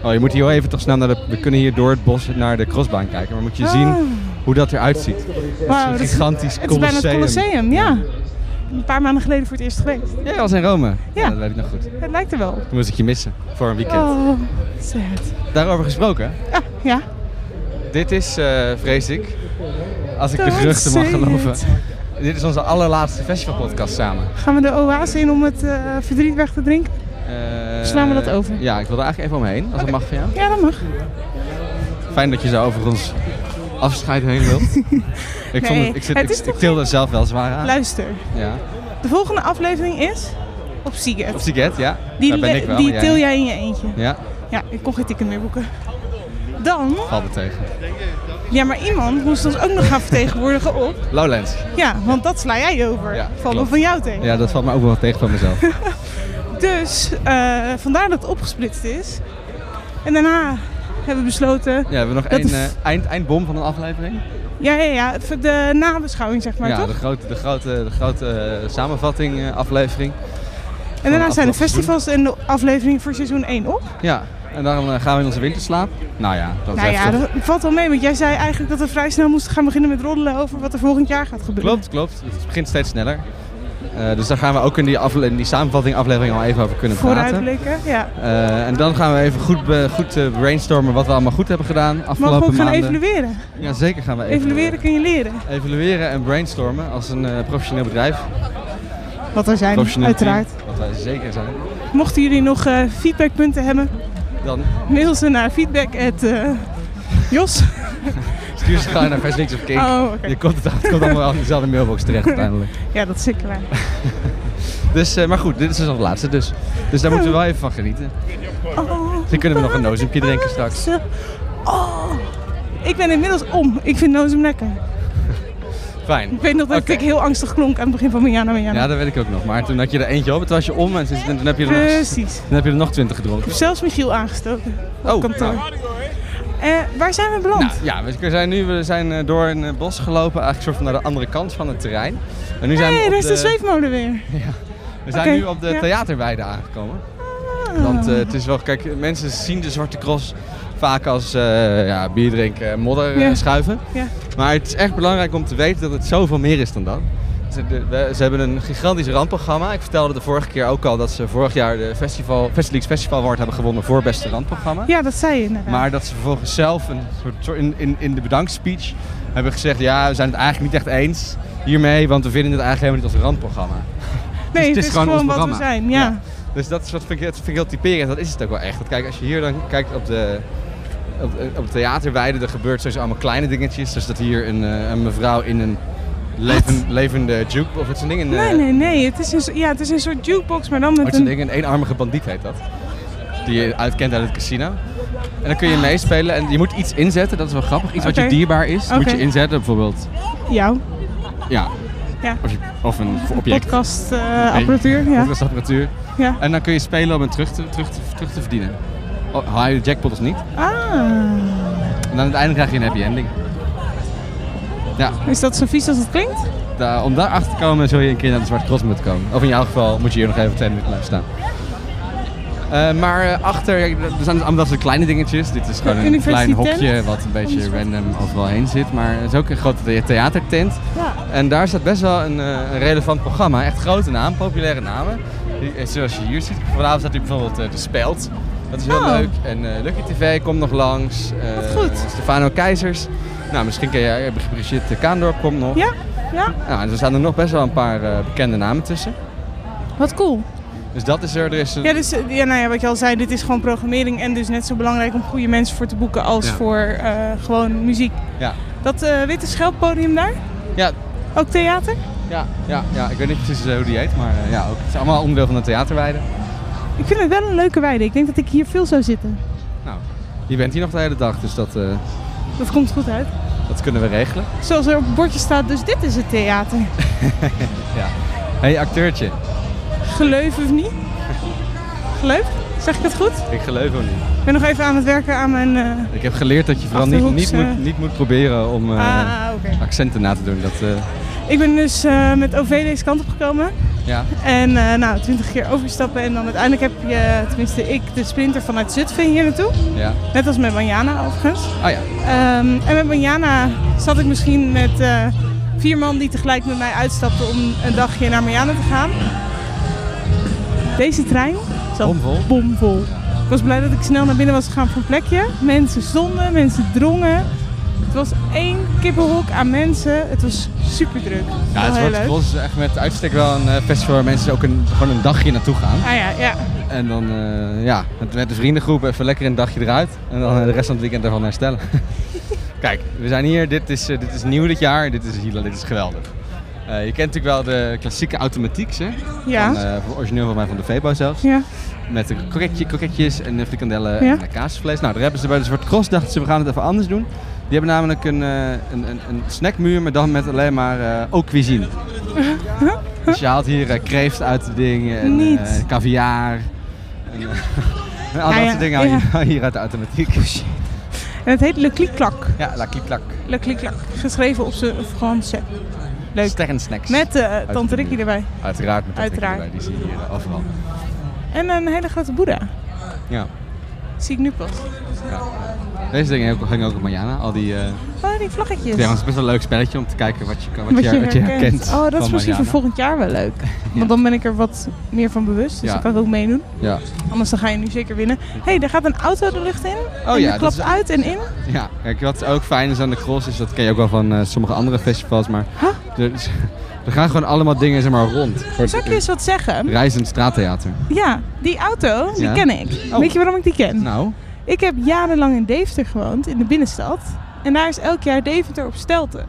Speaker 5: Oh, je moet hier wel even toch snel naar de. We kunnen hier door het bos naar de crossbaan kijken. Maar moet je zien
Speaker 6: Ah.
Speaker 5: hoe dat eruit ziet.
Speaker 6: Wauw,
Speaker 5: een
Speaker 6: dat is-
Speaker 5: gigantisch
Speaker 6: Het is bijna het
Speaker 5: colosseum.
Speaker 6: Colosseum, ja. Een paar maanden geleden voor het eerst geweest.
Speaker 5: Jij was in Rome.
Speaker 6: Ja.
Speaker 5: dat weet ik nog goed. Toen
Speaker 6: Het lijkt er wel.
Speaker 5: moest ik je missen voor een weekend.
Speaker 6: Oh, sad.
Speaker 5: Daarover gesproken.
Speaker 6: Ah, ja.
Speaker 5: Dit is, eh, vrees ik, als ik de
Speaker 6: Don't
Speaker 5: geruchten mag
Speaker 6: say
Speaker 5: geloven.
Speaker 6: it.
Speaker 5: Dit is onze allerlaatste festivalpodcast samen.
Speaker 6: Gaan we de oase in om het eh, verdriet weg te drinken?
Speaker 5: Eh,
Speaker 6: Slaan we dat over?
Speaker 5: Ja, ik wil er eigenlijk even omheen, als het mag van jou.
Speaker 6: Ja, dat mag.
Speaker 5: Fijn dat je zo over ons afscheid heen wilt. ik, vond
Speaker 6: Nee,
Speaker 5: het, ik, zit,
Speaker 6: het
Speaker 5: ik,
Speaker 6: is
Speaker 5: ik
Speaker 6: toch
Speaker 5: tilde het zelf wel zwaar aan.
Speaker 6: Luister.
Speaker 5: Ja.
Speaker 6: De volgende aflevering is op Seagate.
Speaker 5: Op Siget, ja.
Speaker 6: Die,
Speaker 5: Daar ben
Speaker 6: le-
Speaker 5: ik wel.
Speaker 6: die
Speaker 5: maar
Speaker 6: til jij in je eentje.
Speaker 5: niet. Ja,
Speaker 6: Ja, ik kon geen ticket meer boeken. Dan,
Speaker 5: valt me tegen.
Speaker 6: ja, maar iemand moest ons ook nog gaan vertegenwoordigen op.
Speaker 5: Lowlands.
Speaker 6: Ja, want dat sla jij over.
Speaker 5: Ja,
Speaker 6: Valt me
Speaker 5: klopt.
Speaker 6: van jou tegen.
Speaker 5: Ja, dat valt me ook wel tegen van mezelf.
Speaker 6: Dus eh, vandaar dat het opgesplitst is. En daarna hebben we besloten.
Speaker 5: Ja, hebben we nog
Speaker 6: Dat
Speaker 5: één
Speaker 6: is-
Speaker 5: eh, eind, eindbom van een aflevering?
Speaker 6: Ja, ja, ja, het- de nabeschouwing zeg maar
Speaker 5: ja, de
Speaker 6: toch?
Speaker 5: grote, de grote, de grote eh, samenvatting eh, aflevering.
Speaker 6: En daarna zijn de
Speaker 5: afgelopen
Speaker 6: festivals en de aflevering voor seizoen 1 op.
Speaker 5: Ja, en dan eh, gaan we in onze winterslaap. Nou ja, dat
Speaker 6: nou
Speaker 5: is
Speaker 6: ja, dat valt wel mee, want jij zei eigenlijk dat we vrij snel moesten gaan beginnen met roddelen over wat er volgend jaar gaat gebeuren.
Speaker 5: Klopt, klopt. Het begint steeds sneller. Eh, dus daar gaan we ook in die, afle- in die samenvatting aflevering al even over kunnen praten.
Speaker 6: Vooruitblikken, ja.
Speaker 5: Eh, en dan gaan we even goed, be- goed eh, brainstormen wat we allemaal goed hebben gedaan
Speaker 6: Maar
Speaker 5: afgelopen
Speaker 6: gewoon gaan
Speaker 5: maanden.
Speaker 6: evalueren.
Speaker 5: Ja, zeker gaan we
Speaker 6: Evalueren kun je leren.
Speaker 5: Evalueren en brainstormen als een eh, professioneel bedrijf.
Speaker 6: Wat er zijn,
Speaker 5: Professioneel team,
Speaker 6: uiteraard.
Speaker 5: wat wij zeker zijn.
Speaker 6: Mochten jullie nog eh, feedbackpunten hebben,
Speaker 5: Dan
Speaker 6: mail ze naar feedback at, eh, Jos.
Speaker 5: stuur ze gewoon naar Versnix of Kink.
Speaker 6: Oh, oké.
Speaker 5: Je komt het, het komt allemaal in dezelfde mailbox terecht uiteindelijk.
Speaker 6: Ja, dat is zeker waar.
Speaker 5: Dus, eh, maar goed, dit is dus het laatste dus. Dus daar moeten we wel even van genieten.
Speaker 6: Oh,
Speaker 5: Dan kunnen we nog een nozimpje drinken straks.
Speaker 6: ze- Oh, ik ben inmiddels om. Ik vind Nozem lekker.
Speaker 5: Fijn.
Speaker 6: Ik weet nog dat
Speaker 5: Oké.
Speaker 6: ik heel angstig klonk aan het begin van Miana Miana.
Speaker 5: Ja, dat weet ik ook nog. Maar toen had je er eentje op, het was je om en sinds- toen heb je er nog,
Speaker 6: Precies.
Speaker 5: toen heb je er nog twintig gedronken.
Speaker 6: Zelfs Michiel aangestoken. Op
Speaker 5: Oh,
Speaker 6: kantoor.
Speaker 5: nou.
Speaker 6: Eh, waar zijn we beland?
Speaker 5: Nou ja, we zijn nu we zijn eh, door een eh, bos gelopen, eigenlijk soort van naar de andere kant van het terrein. En nu zijn
Speaker 6: Hé,
Speaker 5: we
Speaker 6: hey,
Speaker 5: op
Speaker 6: daar is de,
Speaker 5: de,
Speaker 6: zweefmolen weer.
Speaker 5: we zijn
Speaker 6: Oké,
Speaker 5: nu op de
Speaker 6: ja.
Speaker 5: theaterweide aangekomen. Want eh, het is wel, kijk, mensen zien de Zwarte Cross vaak als eh, ja, bier drinken en modder eh,
Speaker 6: Ja.
Speaker 5: schuiven.
Speaker 6: Ja.
Speaker 5: Maar het is echt belangrijk om te weten dat het zoveel meer is dan dat. Ze, de- we- ze hebben een gigantisch randprogramma. Ik vertelde de vorige keer ook al dat ze vorig jaar de festival, Festileaks Festival Award hebben gewonnen voor beste randprogramma.
Speaker 6: Ja, dat zei je inderdaad.
Speaker 5: Maar dat ze vervolgens zelf een soort, soort- in, in, in de bedankspeech hebben gezegd... ja, we zijn het eigenlijk niet echt eens hiermee... want we vinden het eigenlijk helemaal niet als een randprogramma.
Speaker 6: nee,
Speaker 5: het is gewoon ons
Speaker 6: wat we
Speaker 5: programma.
Speaker 6: zijn. Ja.
Speaker 5: Ja. Dus dat is wat vind ik, dat vind ik heel typerend. Dat is het ook wel echt. Want kijk, als je hier dan kijkt op de... Op, op de theaterweide, er gebeurt sowieso allemaal kleine dingetjes. Dus dat hier een, eh, een mevrouw in een leven, levende juke of wat zo'n ding. Een, eh,
Speaker 6: Nee, nee, nee. Het is een, so- ja, het is een soort jukebox, maar dan met
Speaker 5: Wat
Speaker 6: een...
Speaker 5: zo'n ding, een eenarmige bandiet heet dat. Die je uitkent uit het casino. En dan kun je meespelen en je moet iets inzetten, dat is wel grappig. Iets wat
Speaker 6: Oké.
Speaker 5: je dierbaar is, moet
Speaker 6: Oké.
Speaker 5: je inzetten. Bijvoorbeeld,
Speaker 6: Jou.
Speaker 5: ja.
Speaker 6: Ja.
Speaker 5: Of, je- of een object.
Speaker 6: Podcastapparatuur. eh, ja.
Speaker 5: Of apparatuur.
Speaker 6: ja.
Speaker 5: En dan kun je spelen om het terug te, terug te, terug te verdienen. Oh, Haal je de jackpot of niet.
Speaker 6: Ah.
Speaker 5: En dan uiteindelijk krijg je een happy ending. Ja,
Speaker 6: Is dat zo vies als het klinkt?
Speaker 5: da- om daar achter te komen zul je een keer naar de Zwarte Cross moeten komen. Of in jouw geval moet je hier nog even twee minuten blijven staan. Eh, maar eh, achter, kijk, er zijn allemaal dat soort kleine dingetjes. Dit is gewoon een
Speaker 6: universiteit.
Speaker 5: klein hokje wat een beetje random overal heen zit. Maar het is ook een grote the- theatertent.
Speaker 6: Ja.
Speaker 5: En daar staat best wel een, eh, een relevant programma. Echt grote naam, populaire namen. Die- eh, Zoals je hier ziet. Vanavond staat hier bijvoorbeeld eh, De Speld. Dat is heel
Speaker 6: Oh.
Speaker 5: leuk. En eh, Lucky TV komt nog langs. Eh,
Speaker 6: Wat goed.
Speaker 5: Stefano Keizers. Nou, misschien ken jij Brigitte Kaandorp komt nog.
Speaker 6: Ja? Ja?
Speaker 5: Nou, en er staan er nog best wel een paar eh, bekende namen tussen.
Speaker 6: Wat cool.
Speaker 5: Dus dat is er. Er is een-
Speaker 6: Ja, dus, eh, ja, nou ja, wat je al zei, dit is gewoon programmering en dus net zo belangrijk om goede mensen voor te boeken als
Speaker 5: Ja.
Speaker 6: voor eh, gewoon muziek.
Speaker 5: Ja.
Speaker 6: Dat eh, witte schelppodium daar,
Speaker 5: ja,
Speaker 6: ook theater?
Speaker 5: ja, ja, ja, ik weet niet precies eh, hoe die heet, maar eh, ja, ook, het is allemaal onderdeel van de theaterweide.
Speaker 6: Ik vind het wel een leuke weide. Ik denk dat ik hier veel zou zitten.
Speaker 5: Nou, je bent hier nog de hele dag, dus dat, eh,
Speaker 6: Dat komt goed uit.
Speaker 5: dat kunnen we regelen.
Speaker 6: Zoals er op het bordje staat, dus dit is het theater.
Speaker 5: hey, acteurtje.
Speaker 6: Geleuf of niet? Geleuf? Zeg ik het goed?
Speaker 5: Ik geloof hem niet.
Speaker 6: Ik ben nog even aan het werken aan mijn... eh,
Speaker 5: Ik heb geleerd dat je vooral niet, niet,
Speaker 6: Achterhoeks, eh.
Speaker 5: moet, niet moet proberen om eh,
Speaker 6: Ah, oké.
Speaker 5: accenten na te doen. Dat, eh,
Speaker 6: Ik ben dus eh, met OV deze kant op gekomen.
Speaker 5: ja.
Speaker 6: En eh, nou, twintig keer overstappen en dan uiteindelijk heb je, eh, tenminste ik, de sprinter vanuit Zutphen hier naartoe.
Speaker 5: ja.
Speaker 6: Net als met Manjana overigens.
Speaker 5: Oh ja,
Speaker 6: Ehm, en met Manjana zat ik misschien met eh, vier man die tegelijk met mij uitstapten om een dagje naar Manjana te gaan. Deze trein zat
Speaker 5: Bomvol.
Speaker 6: bomvol. Ik was blij dat ik snel naar binnen was gegaan voor een plekje. Mensen stonden, mensen drongen. Het was één kippenhok aan mensen. Het was super druk.
Speaker 5: ja het
Speaker 6: heel
Speaker 5: wordt
Speaker 6: leuk.
Speaker 5: Cross is echt met uitstek wel een eh, festival waar mensen ook een, gewoon een dagje naartoe gaan.
Speaker 6: Ah ja, ja.
Speaker 5: En dan eh, ja, met, met de vriendengroep even lekker een dagje eruit. En dan eh, de rest van het weekend ervan herstellen. Kijk, we zijn hier. Dit is, eh, dit is nieuw dit jaar. Dit is, Hila, dit is geweldig. Eh, je kent natuurlijk wel de klassieke automatiek, hè?
Speaker 6: Ja.
Speaker 5: Van, eh, origineel van mij van de Febo zelfs.
Speaker 6: ja.
Speaker 5: Met een kroketje, kroketjes en eh, frikandellen
Speaker 6: Ja.
Speaker 5: en eh, kaasvlees. Nou, daar hebben ze bij de Zwarte Cross dachten ze, we gaan het even anders doen. Die hebben namelijk een, eh, een, een, een snackmuur, maar dan met alleen maar eh ook cuisine. dus je haalt hier eh, kreeft uit de dingen en
Speaker 6: Niet.
Speaker 5: eh, caviar. en, eh, en al
Speaker 6: Ja,
Speaker 5: dat
Speaker 6: ja,
Speaker 5: soort dingen haal je-
Speaker 6: ja.
Speaker 5: haal je hier uit de automatiek.
Speaker 6: En het heet Le Clic-Clac.
Speaker 5: ja, lakiklak.
Speaker 6: Le Clic-Clac. Geschreven op zijn Franse. Leuk.
Speaker 5: Sterrensnacks.
Speaker 6: Met eh, Tante
Speaker 5: de
Speaker 6: Ricky
Speaker 5: muur.
Speaker 6: erbij.
Speaker 5: Uiteraard met Tante Ricky
Speaker 6: Uiteraard.
Speaker 5: erbij, die zie je hier eh, overal.
Speaker 6: En een hele grote boeddha.
Speaker 5: Ja.
Speaker 6: Zie ik nu pas.
Speaker 5: Deze dingen hangen ook- hangen ook op Mariana, al die... eh,
Speaker 6: Oh, die vlaggetjes.
Speaker 5: Ja, maar het is best wel een leuk spelletje om te kijken wat je, kan- wat
Speaker 6: Wat
Speaker 5: je, wat je herkent.
Speaker 6: Oh, dat is
Speaker 5: van
Speaker 6: misschien voor
Speaker 5: Mariana.
Speaker 6: volgend jaar wel leuk. Want dan ben ik er wat meer van bewust. Dus
Speaker 5: Ja.
Speaker 6: dan kan ik ook meedoen.
Speaker 5: Ja,
Speaker 6: Anders dan ga je nu zeker winnen. Hé, hey, daar gaat een auto de lucht in.
Speaker 5: Oh ja,
Speaker 6: en die
Speaker 5: dat
Speaker 6: klapt
Speaker 5: is-
Speaker 6: uit en in.
Speaker 5: ja. Kijk, wat ook fijn is aan de cross is, dat ken je ook wel van eh, sommige andere festivals, maar er, is- er gaan gewoon allemaal dingen zeg maar, rond. Voor het-
Speaker 6: Zal ik je eens wat zeggen?
Speaker 5: Reizend straattheater.
Speaker 6: Ja, die auto, die
Speaker 5: Ja. Oh.
Speaker 6: ken ik. Weet je waarom ik die ken?
Speaker 5: Nou,
Speaker 6: Ik heb jarenlang in Deventer gewoond, in de binnenstad. En daar is elk jaar Deventer op Stelten.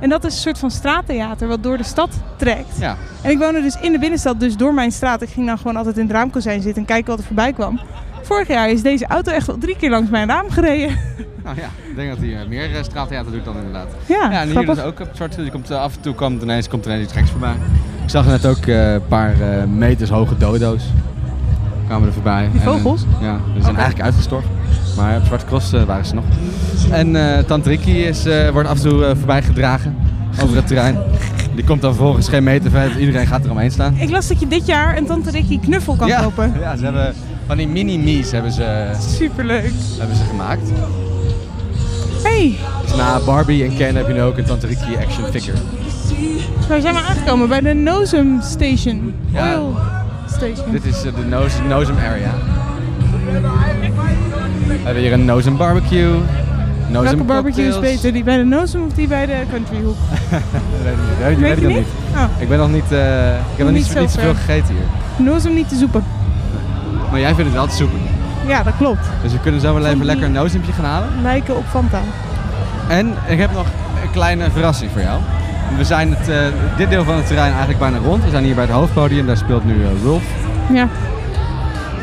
Speaker 6: En dat is een soort van straattheater wat door de stad trekt.
Speaker 5: ja.
Speaker 6: En ik woonde dus in de binnenstad, dus door mijn straat. Ik ging dan gewoon altijd in het raamkozijn zitten en kijken wat er voorbij kwam. Vorig jaar is deze auto echt wel drie keer langs mijn raam gereden.
Speaker 5: Nou ja, ik denk dat hij eh, meer eh, straattheater doet dan inderdaad.
Speaker 6: Ja,
Speaker 5: Ja, en hier
Speaker 6: grappig.
Speaker 5: dus ook op het zwarte. Je komt, eh, af en toe komt ineens, komt ineens iets geks voorbij. Ik zag net ook eh, een paar eh, meters hoge dodo's. Kwamen er voorbij.
Speaker 6: Die
Speaker 5: En, eh,
Speaker 6: vogels?
Speaker 5: ja, die zijn eigenlijk uitgestorven. Maar op Zwarte Cross eh, waren ze nog. En eh Tante Ricky is, eh, wordt af en toe eh, voorbij gedragen over het terrein. Die komt dan vervolgens geen meter verder. Iedereen gaat er omheen staan.
Speaker 6: Ik las dat je dit jaar een Tante Ricky knuffel kan
Speaker 5: ja,
Speaker 6: kopen.
Speaker 5: ja, ze hebben van die mini-mies hebben ze,
Speaker 6: Superleuk.
Speaker 5: hebben ze gemaakt.
Speaker 6: Hey,
Speaker 5: Dus na Barbie en Ken heb je nu ook een Tante Ricky action figure.
Speaker 6: wij zijn maar aangekomen bij de Nozem Station.
Speaker 5: Ja.
Speaker 6: Oil Station.
Speaker 5: Dit is eh, de Nozem Nozem area. We hebben hier een Nozem barbecue. Nozem
Speaker 6: Welke barbecue is
Speaker 5: cocktails.
Speaker 6: beter, die bij de Nozem of die bij de Countryhoek?
Speaker 5: Weet ik niet, weet ik- weet
Speaker 6: Weet
Speaker 5: ik
Speaker 6: je
Speaker 5: nog
Speaker 6: niet?
Speaker 5: niet.
Speaker 6: Oh,
Speaker 5: Ik ben nog niet, eh, ik heb nog niet,
Speaker 6: Niet
Speaker 5: zo-
Speaker 6: zo
Speaker 5: niet zoveel
Speaker 6: ver.
Speaker 5: gegeten hier.
Speaker 6: Nozem Oh, niet te zoeken.
Speaker 5: Maar jij vindt het wel te zoeken.
Speaker 6: Ja, dat klopt.
Speaker 5: Dus we kunnen zo wel even lekker een nozempje gaan halen.
Speaker 6: Lijken op Fanta.
Speaker 5: En ik heb nog een kleine verrassing voor jou. We zijn het, eh, dit deel van het terrein eigenlijk bijna rond. We zijn hier bij het hoofdpodium, daar speelt nu eh, Rulf.
Speaker 6: Ja.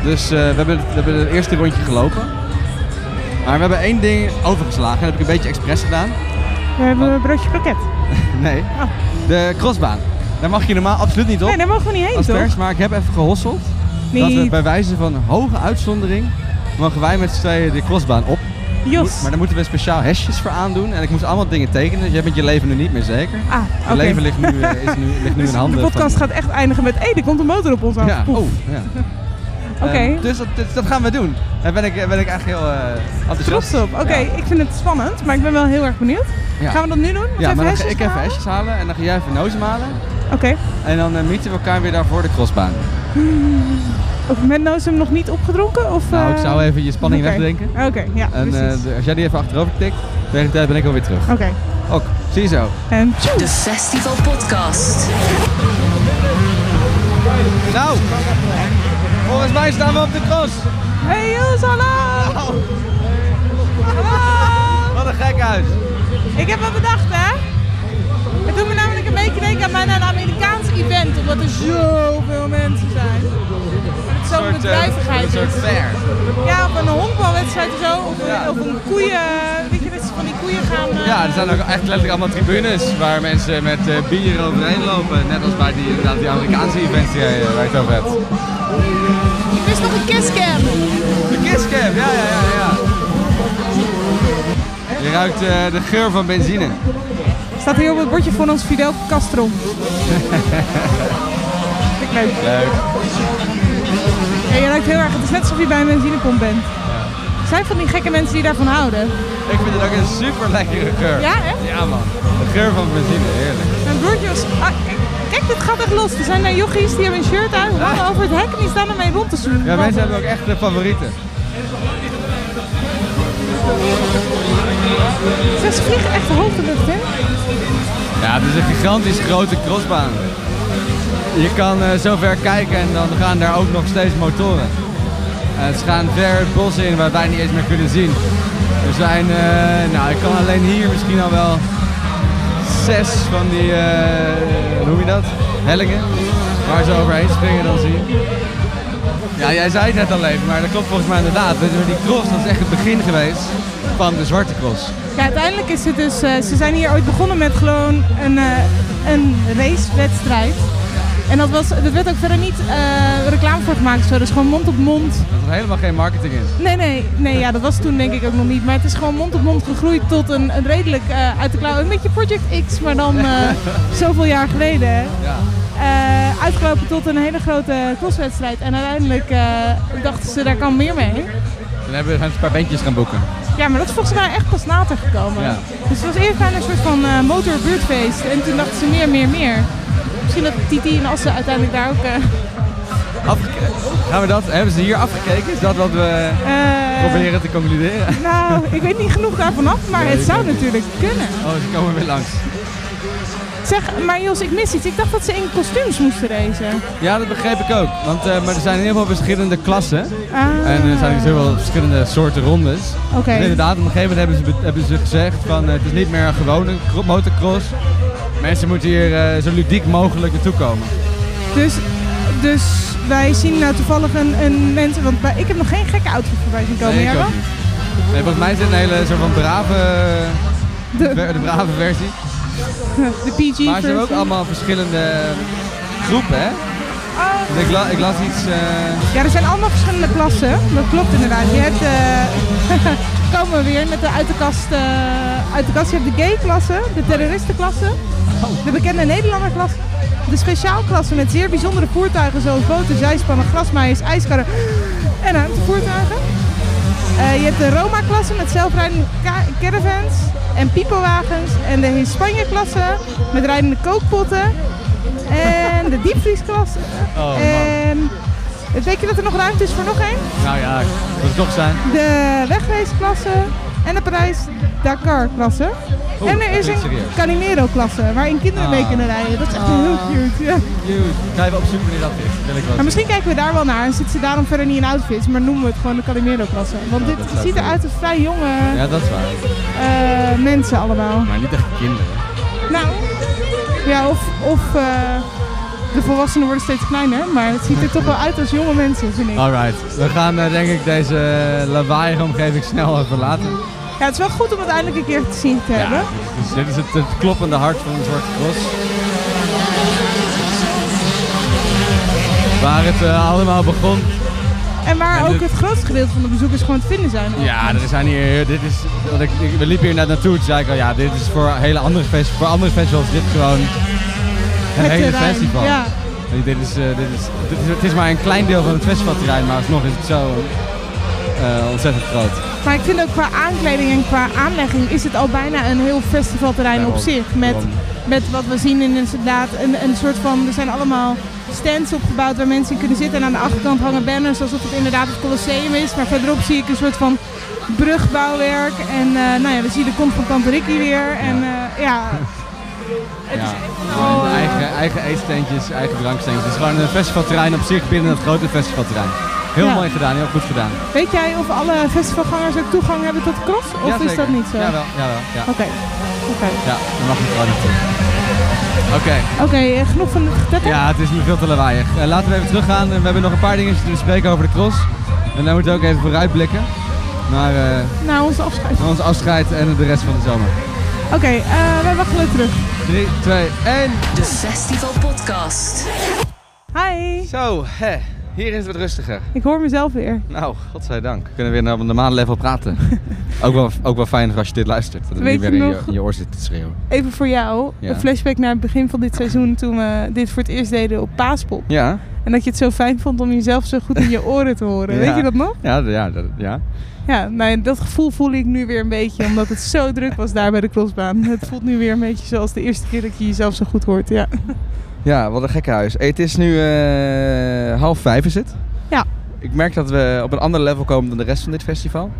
Speaker 5: Dus eh, we, hebben het, we hebben het eerste rondje gelopen. Maar we hebben één ding overgeslagen. Dat heb ik een beetje expres gedaan.
Speaker 6: We hebben een broodje kroket.
Speaker 5: Nee.
Speaker 6: Oh.
Speaker 5: De crossbaan. Daar mag je normaal absoluut niet op.
Speaker 6: Nee, daar mogen we niet heen,
Speaker 5: als
Speaker 6: toch?
Speaker 5: pers, maar ik heb even gehosseld. Dat we
Speaker 6: Niet.
Speaker 5: bij wijze van hoge uitzondering mogen wij met z'n tweeën de crossbaan op.
Speaker 6: Jos.
Speaker 5: Maar daar moeten we speciaal hesjes voor aandoen. En ik moest allemaal dingen tekenen. Dus jij bent je leven nu niet meer zeker. Je
Speaker 6: Ah, oké. Dus
Speaker 5: leven ligt nu, eh, is nu, ligt nu in handen.
Speaker 6: De podcast
Speaker 5: van,
Speaker 6: gaat echt eindigen met... Hé, er komt een motor op ons af.
Speaker 5: Ja,
Speaker 6: Poef.
Speaker 5: oh, ja.
Speaker 6: Oké.
Speaker 5: dus, dat, dus dat gaan we doen. Daar ben ik, ben ik eigenlijk heel eh, enthousiast.
Speaker 6: Trots op. Oké,
Speaker 5: Ja.
Speaker 6: ik vind het spannend, maar ik ben wel heel erg benieuwd.
Speaker 5: Ja.
Speaker 6: Gaan we dat nu doen? Nog
Speaker 5: Ja, maar dan ga
Speaker 6: hesjes
Speaker 5: ik even
Speaker 6: halen?
Speaker 5: hesjes halen en dan ga jij even nozen halen.
Speaker 6: Oké.
Speaker 5: En dan eh, meeten we elkaar weer daar voor de crossbaan.
Speaker 6: Ook Met Nozem nog niet opgedronken? Of,
Speaker 5: Nou, ik
Speaker 6: eh,
Speaker 5: zou even je spanning
Speaker 6: oké.
Speaker 5: wegdenken.
Speaker 6: Oké, ja,
Speaker 5: En eh,
Speaker 6: precies.
Speaker 5: de- als jij die even achterover tikt, tegen de tijd ben ik alweer terug.
Speaker 6: Oké,
Speaker 5: Ook, zie je zo.
Speaker 6: en tjoe!
Speaker 3: De Festival Podcast.
Speaker 5: Nou, volgens mij staan we op de cross.
Speaker 6: Hey Jos, hallo! Hallo!
Speaker 5: Wat een gek huis.
Speaker 6: Ik heb wat bedacht, hè? Het doet me namelijk een beetje denken aan bijna een Amerikaans event, omdat er zoveel mensen zijn. Maar het is zo'n bedrijvigheid.
Speaker 5: eh,
Speaker 6: dus.
Speaker 5: Een soort
Speaker 6: is.
Speaker 5: fair.
Speaker 6: Ja, op een honkbalwedstrijd of zo, of, een-
Speaker 5: Ja.
Speaker 6: of een koeien, weet je, dat ze van die koeien gaan... eh,
Speaker 5: Ja, er zijn ook echt letterlijk allemaal tribunes waar mensen met eh bier overheen lopen. Net als bij die, inderdaad, die Amerikaanse events die jij, eh, waar je het over hebt.
Speaker 6: Ik wist nog een kisscam!
Speaker 5: De Kisscam, ja, ja, ja, ja. Je ruikt eh, de geur van benzine.
Speaker 6: Staat hier op het bordje voor ons Fidel Castro. Vind ik leuk.
Speaker 5: Leuk.
Speaker 6: Ja, je ruikt heel erg. Het is net alsof je bij een benzinepomp bent. Er Zijn van die gekke mensen die daarvan houden?
Speaker 5: Ik vind het ook een super lekkere geur.
Speaker 6: Ja, hè?
Speaker 5: Ja, man. De geur van benzine, heerlijk.
Speaker 6: Mijn broertje was... Ah, kijk, kijk, dit gaat echt los. Er zijn daar jochies die hebben een shirt uit, hangen over het hek en die staan ermee rond te zoenen.
Speaker 5: Ja, mensen hebben ook echt de favorieten.
Speaker 6: Ze ze vliegen echt de hoogtelucht in.
Speaker 5: Ja, het is een gigantisch grote crossbaan. Je kan eh, zo ver kijken en dan gaan daar ook nog steeds motoren. En ze gaan ver het bos in waar wij niet eens meer kunnen zien. Er zijn, eh, nou ik kan alleen hier misschien al wel zes van die, eh, hoe noem je dat? Hellingen. Waar ze overheen springen dan zie je. Ja, jij zei het net al even, maar dat klopt volgens mij inderdaad. Dus Die cross, dat is echt het begin geweest van de zwarte cross.
Speaker 6: Ja, uiteindelijk is het dus... eh, ze zijn hier ooit begonnen met gewoon een, eh, een racewedstrijd. En dat, was, dat werd ook verder niet eh, reclame voor gemaakt. of Zo. Dus gewoon mond op mond.
Speaker 5: Dat er helemaal geen marketing in.
Speaker 6: Nee, nee, nee, ja, dat was toen denk ik ook nog niet. Maar het is gewoon mond op mond gegroeid tot een, een redelijk eh, uit de klauw. Een beetje Project X, maar dan eh, zoveel jaar geleden. hè.
Speaker 5: Ja.
Speaker 6: Eh, uitgelopen tot een hele grote crosswedstrijd. En uiteindelijk eh, dachten ze, daar kan meer mee.
Speaker 5: Dan hebben we een paar bandjes gaan boeken.
Speaker 6: Ja, maar dat is volgens mij echt pas later gekomen.
Speaker 5: Ja.
Speaker 6: Dus het was eerst bijna een soort van eh motorbuurtfeest. En toen dachten ze meer, meer, meer. Misschien dat Titi en Assen uiteindelijk daar ook... eh,
Speaker 5: Afgekeken. Gaan we dat? Hebben ze hier afgekeken? Is dat wat we
Speaker 6: eh,
Speaker 5: proberen te concluderen?
Speaker 6: nou, ik weet niet genoeg daarvan af, maar het zou natuurlijk kunnen.
Speaker 5: Oh, ze komen weer langs.
Speaker 6: Zeg, maar Jos, ik mis iets. Ik dacht dat ze in kostuums moesten racen.
Speaker 5: Ja, dat begreep ik ook. Want eh, maar er zijn in ieder geval verschillende klassen.
Speaker 6: Ah,
Speaker 5: En er zijn zoveel verschillende soorten rondes.
Speaker 6: Oké.
Speaker 5: Dus inderdaad, op een gegeven moment hebben ze, be- hebben ze gezegd van eh, het is niet meer een gewone cro- motocross. Mensen moeten hier eh, zo ludiek mogelijk naartoe komen.
Speaker 6: Dus, dus wij zien nou toevallig een, een mensen... Want bij- ik heb nog geen gekke outfit voorbij zien komen,
Speaker 5: Nee,
Speaker 6: jij
Speaker 5: ik ook
Speaker 6: wel?
Speaker 5: niet. Nee, volgens mij is dit een hele soort van brave,
Speaker 6: De-
Speaker 5: ver- de brave versie.
Speaker 6: De PG
Speaker 5: Maar ze hebben ook
Speaker 6: versie.
Speaker 5: allemaal verschillende groepen, hè?
Speaker 6: Oh,
Speaker 5: Dus ik, la- ik las iets... eh,
Speaker 6: Ja, er zijn allemaal verschillende klassen. Dat klopt inderdaad. Je hebt... eh, komen we weer met de uit de kast... eh, uit de kast. Je hebt de gay-klasse, de terroristenklasse, de bekende Nederlanderklasse. De speciaalklasse met zeer bijzondere voertuigen zoals boten, zijspannen, grasmaaiers, ijskarren en ruimtevoertuigen. Eh, je hebt de Roma-klasse met zelfrijdende ka- caravans en pipowagens. En de Hispanje-klasse met rijdende kookpotten. En de diepvriesklasse.
Speaker 5: Oh, man.
Speaker 6: en weet je dat er nog ruimte is voor nog één?
Speaker 5: Nou ja, dat moet toch zijn.
Speaker 6: De wegraceklasse en de Parijs-Dakar-klasse.
Speaker 5: Oeh,
Speaker 6: en er
Speaker 5: Oh, dat
Speaker 6: is een
Speaker 5: klinkt serieus.
Speaker 6: Calimero-klasse waarin kinderen mee
Speaker 5: Ah.
Speaker 6: kunnen rijden. Dat is echt heel cute. Ja.
Speaker 5: Cute. Ga even opzoeken wanneer dat is. Wil ik wel.
Speaker 6: Maar misschien kijken we daar wel naar en zitten ze daarom verder niet in outfits, maar noemen we het gewoon de Calimero-klasse. Want dit
Speaker 5: dat zou
Speaker 6: ziet eruit als vrij jonge
Speaker 5: Ja, dat is waar.
Speaker 6: eh, mensen allemaal.
Speaker 5: Maar niet echt kinderen.
Speaker 6: Nou, ja, of, of eh, de volwassenen worden steeds kleiner, maar het ziet er toch wel uit als jonge mensen, vind ik.
Speaker 5: Ah. Alright. We gaan eh, denk ik deze lawaaiige omgeving snel even verlaten.
Speaker 6: Ja, het is wel goed om het eindelijk een keer te zien te hebben.
Speaker 5: Dus dit is het, het kloppende hart van een zwarte cross. Waar het eh, allemaal begon.
Speaker 6: En waar
Speaker 5: En
Speaker 6: ook
Speaker 5: dit-
Speaker 6: het grootste gedeelte van de bezoekers gewoon te vinden zijn.
Speaker 5: Ja, er zijn hier. Dit is, want ik, ik- we liepen hier net naartoe. Toen zei ik al, ja, dit is voor hele andere festivals. Voor andere festivals is dit gewoon een
Speaker 6: Het
Speaker 5: hele
Speaker 6: terrein,
Speaker 5: festival.
Speaker 6: Ja.
Speaker 5: Weet je, Dit is, eh, dit is, dit is, het is maar een klein deel van het festivalterrein, maar alsnog is het zo eh, ontzettend groot.
Speaker 6: Maar ik vind ook qua aankleding en qua aanlegging is het al bijna een heel festivalterrein op
Speaker 5: Daarom.
Speaker 6: zich. Met,
Speaker 5: Daarom.
Speaker 6: met wat we zien in inderdaad een, een soort van, er zijn allemaal stands opgebouwd waar mensen in kunnen zitten. En aan de achterkant hangen banners alsof het inderdaad het Colosseum is. Maar verderop zie ik een soort van brugbouwwerk. En eh, nou ja, we zien de kont van Tante Ricky weer. En eh, ja, het
Speaker 5: Ja.
Speaker 6: is echt wel... eh,
Speaker 5: Eigen, eigen eetsteentjes, eigen dranksteentjes. Het is gewoon een festivalterrein op zich binnen het grote festivalterrein. Heel
Speaker 6: Ja.
Speaker 5: mooi gedaan, heel goed gedaan.
Speaker 6: Weet jij of alle festivalgangers ook toegang hebben tot cross? Of
Speaker 5: Ja,
Speaker 6: is
Speaker 5: zeker.
Speaker 6: dat niet zo?
Speaker 5: Jawel, jawel, ja.
Speaker 6: Oké. Oké,
Speaker 5: Ja, dan mag je gewoon naartoe. Oké,
Speaker 6: Oké, eh, genoeg van de getetter?
Speaker 5: ja, het is me veel te lawaaiig. Eh, laten we even teruggaan. We hebben nog een paar dingetjes te bespreken over de cross. En daar moeten we ook even vooruitblikken. Naar, eh,
Speaker 6: Nou, onze afscheid.
Speaker 5: naar ons afscheid en de rest van de zomer.
Speaker 6: Oké, eh, wij wachten terug.
Speaker 5: 3, 2, 1.
Speaker 3: De Festival Podcast.
Speaker 6: Hi,
Speaker 5: Zo, hè. Hier is het wat rustiger.
Speaker 6: ik hoor mezelf weer.
Speaker 5: Nou, godzijdank. We kunnen weer naar een normale level praten. ook, wel, ook wel fijn als je dit luistert. Dat het
Speaker 6: Weet
Speaker 5: niet
Speaker 6: je
Speaker 5: meer in je,
Speaker 6: nog?
Speaker 5: in je oor zit te schreeuwen.
Speaker 6: Even voor jou,
Speaker 5: Ja.
Speaker 6: een flashback naar het begin van dit seizoen toen we dit voor het eerst deden op Paaspop.
Speaker 5: Ja,
Speaker 6: En dat je het zo fijn vond om jezelf zo goed in je oren te horen.
Speaker 5: Ja.
Speaker 6: Weet je dat nog?
Speaker 5: ja, d- ja, d- ja.
Speaker 6: Ja, nou, ja, dat gevoel voel ik nu weer een beetje, omdat het zo druk was daar bij de crossbaan. Het voelt nu weer een beetje zoals de eerste keer dat je jezelf zo goed hoort. Ja,
Speaker 5: Ja, wat een gekke huis. Hey, het is nu eh, half vijf is het.
Speaker 6: Ja.
Speaker 5: Ik merk dat we op een ander level komen dan de rest van dit festival.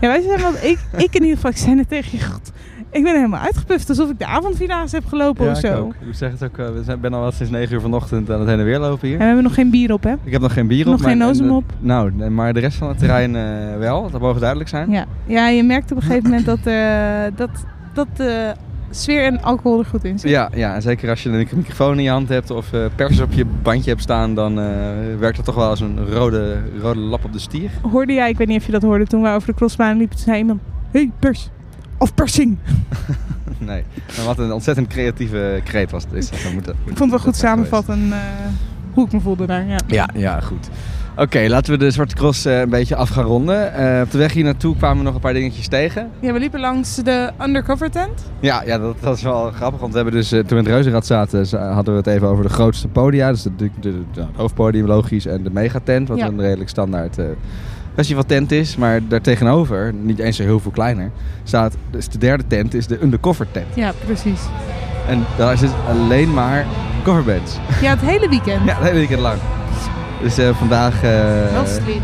Speaker 6: ja wij zijn wat, ik, ik in ieder geval, ik zei het tegen je, god, ik ben helemaal uitgepuft. Alsof ik de avondvierdaagse heb gelopen of zo.
Speaker 5: Ik moet zeggen, het ook, eh, we zijn- ben al wel sinds negen uur vanochtend aan het heen en weer lopen hier.
Speaker 6: En we hebben nog geen bier op, hè?
Speaker 5: Ik heb nog geen bier op.
Speaker 6: Nog
Speaker 5: maar-
Speaker 6: geen
Speaker 5: en
Speaker 6: nozem
Speaker 5: de-
Speaker 6: op.
Speaker 5: Nou, nee, maar de rest van het terrein eh, wel. Dat mogen duidelijk zijn.
Speaker 6: Ja, ja je merkt op een gegeven moment dat, eh, dat, dat eh, sfeer en alcohol er goed in zit.
Speaker 5: Ja, ja, en zeker als je een microfoon in je hand hebt of eh, pers op je bandje hebt staan, dan eh, werkt dat toch wel als een rode, rode lap op de stier.
Speaker 6: Hoorde jij, ik weet niet of je dat hoorde, toen we over de crossbaan liepen, toen zei iemand, hey, pers. Of persing.
Speaker 5: nee, maar wat een ontzettend creatieve kreet was het. Is dat, dat moet, dat moet-
Speaker 6: Ik
Speaker 5: dat
Speaker 6: vond het wel goed
Speaker 5: zijn geweest.
Speaker 6: samenvatten eh, hoe ik me voelde daar. Ja.
Speaker 5: Ja, ja, goed. Oké, laten we de Zwarte Cross eh, een beetje af gaan ronden. Eh, op de weg hier naartoe kwamen we nog een paar dingetjes tegen.
Speaker 6: ja, we liepen langs de undercover tent.
Speaker 5: Ja, ja dat, dat is wel grappig, want we hebben dus, eh, toen we in het Reuzenrad zaten, za- hadden we het even over de grootste podia. Dus de, de, de, de- het hoofdpodium logisch en de megatent, wat
Speaker 6: Ja.
Speaker 5: een redelijk standaard eh festivaltent is. Maar daartegenover, niet eens zo heel veel kleiner, staat, dus de derde tent is de undercover tent.
Speaker 6: Ja, precies.
Speaker 5: En daar zit alleen maar coverbands.
Speaker 6: Ja, het hele weekend.
Speaker 5: ja, dat hele weekend lang. Dus eh, vandaag... eh,
Speaker 6: Wel slim.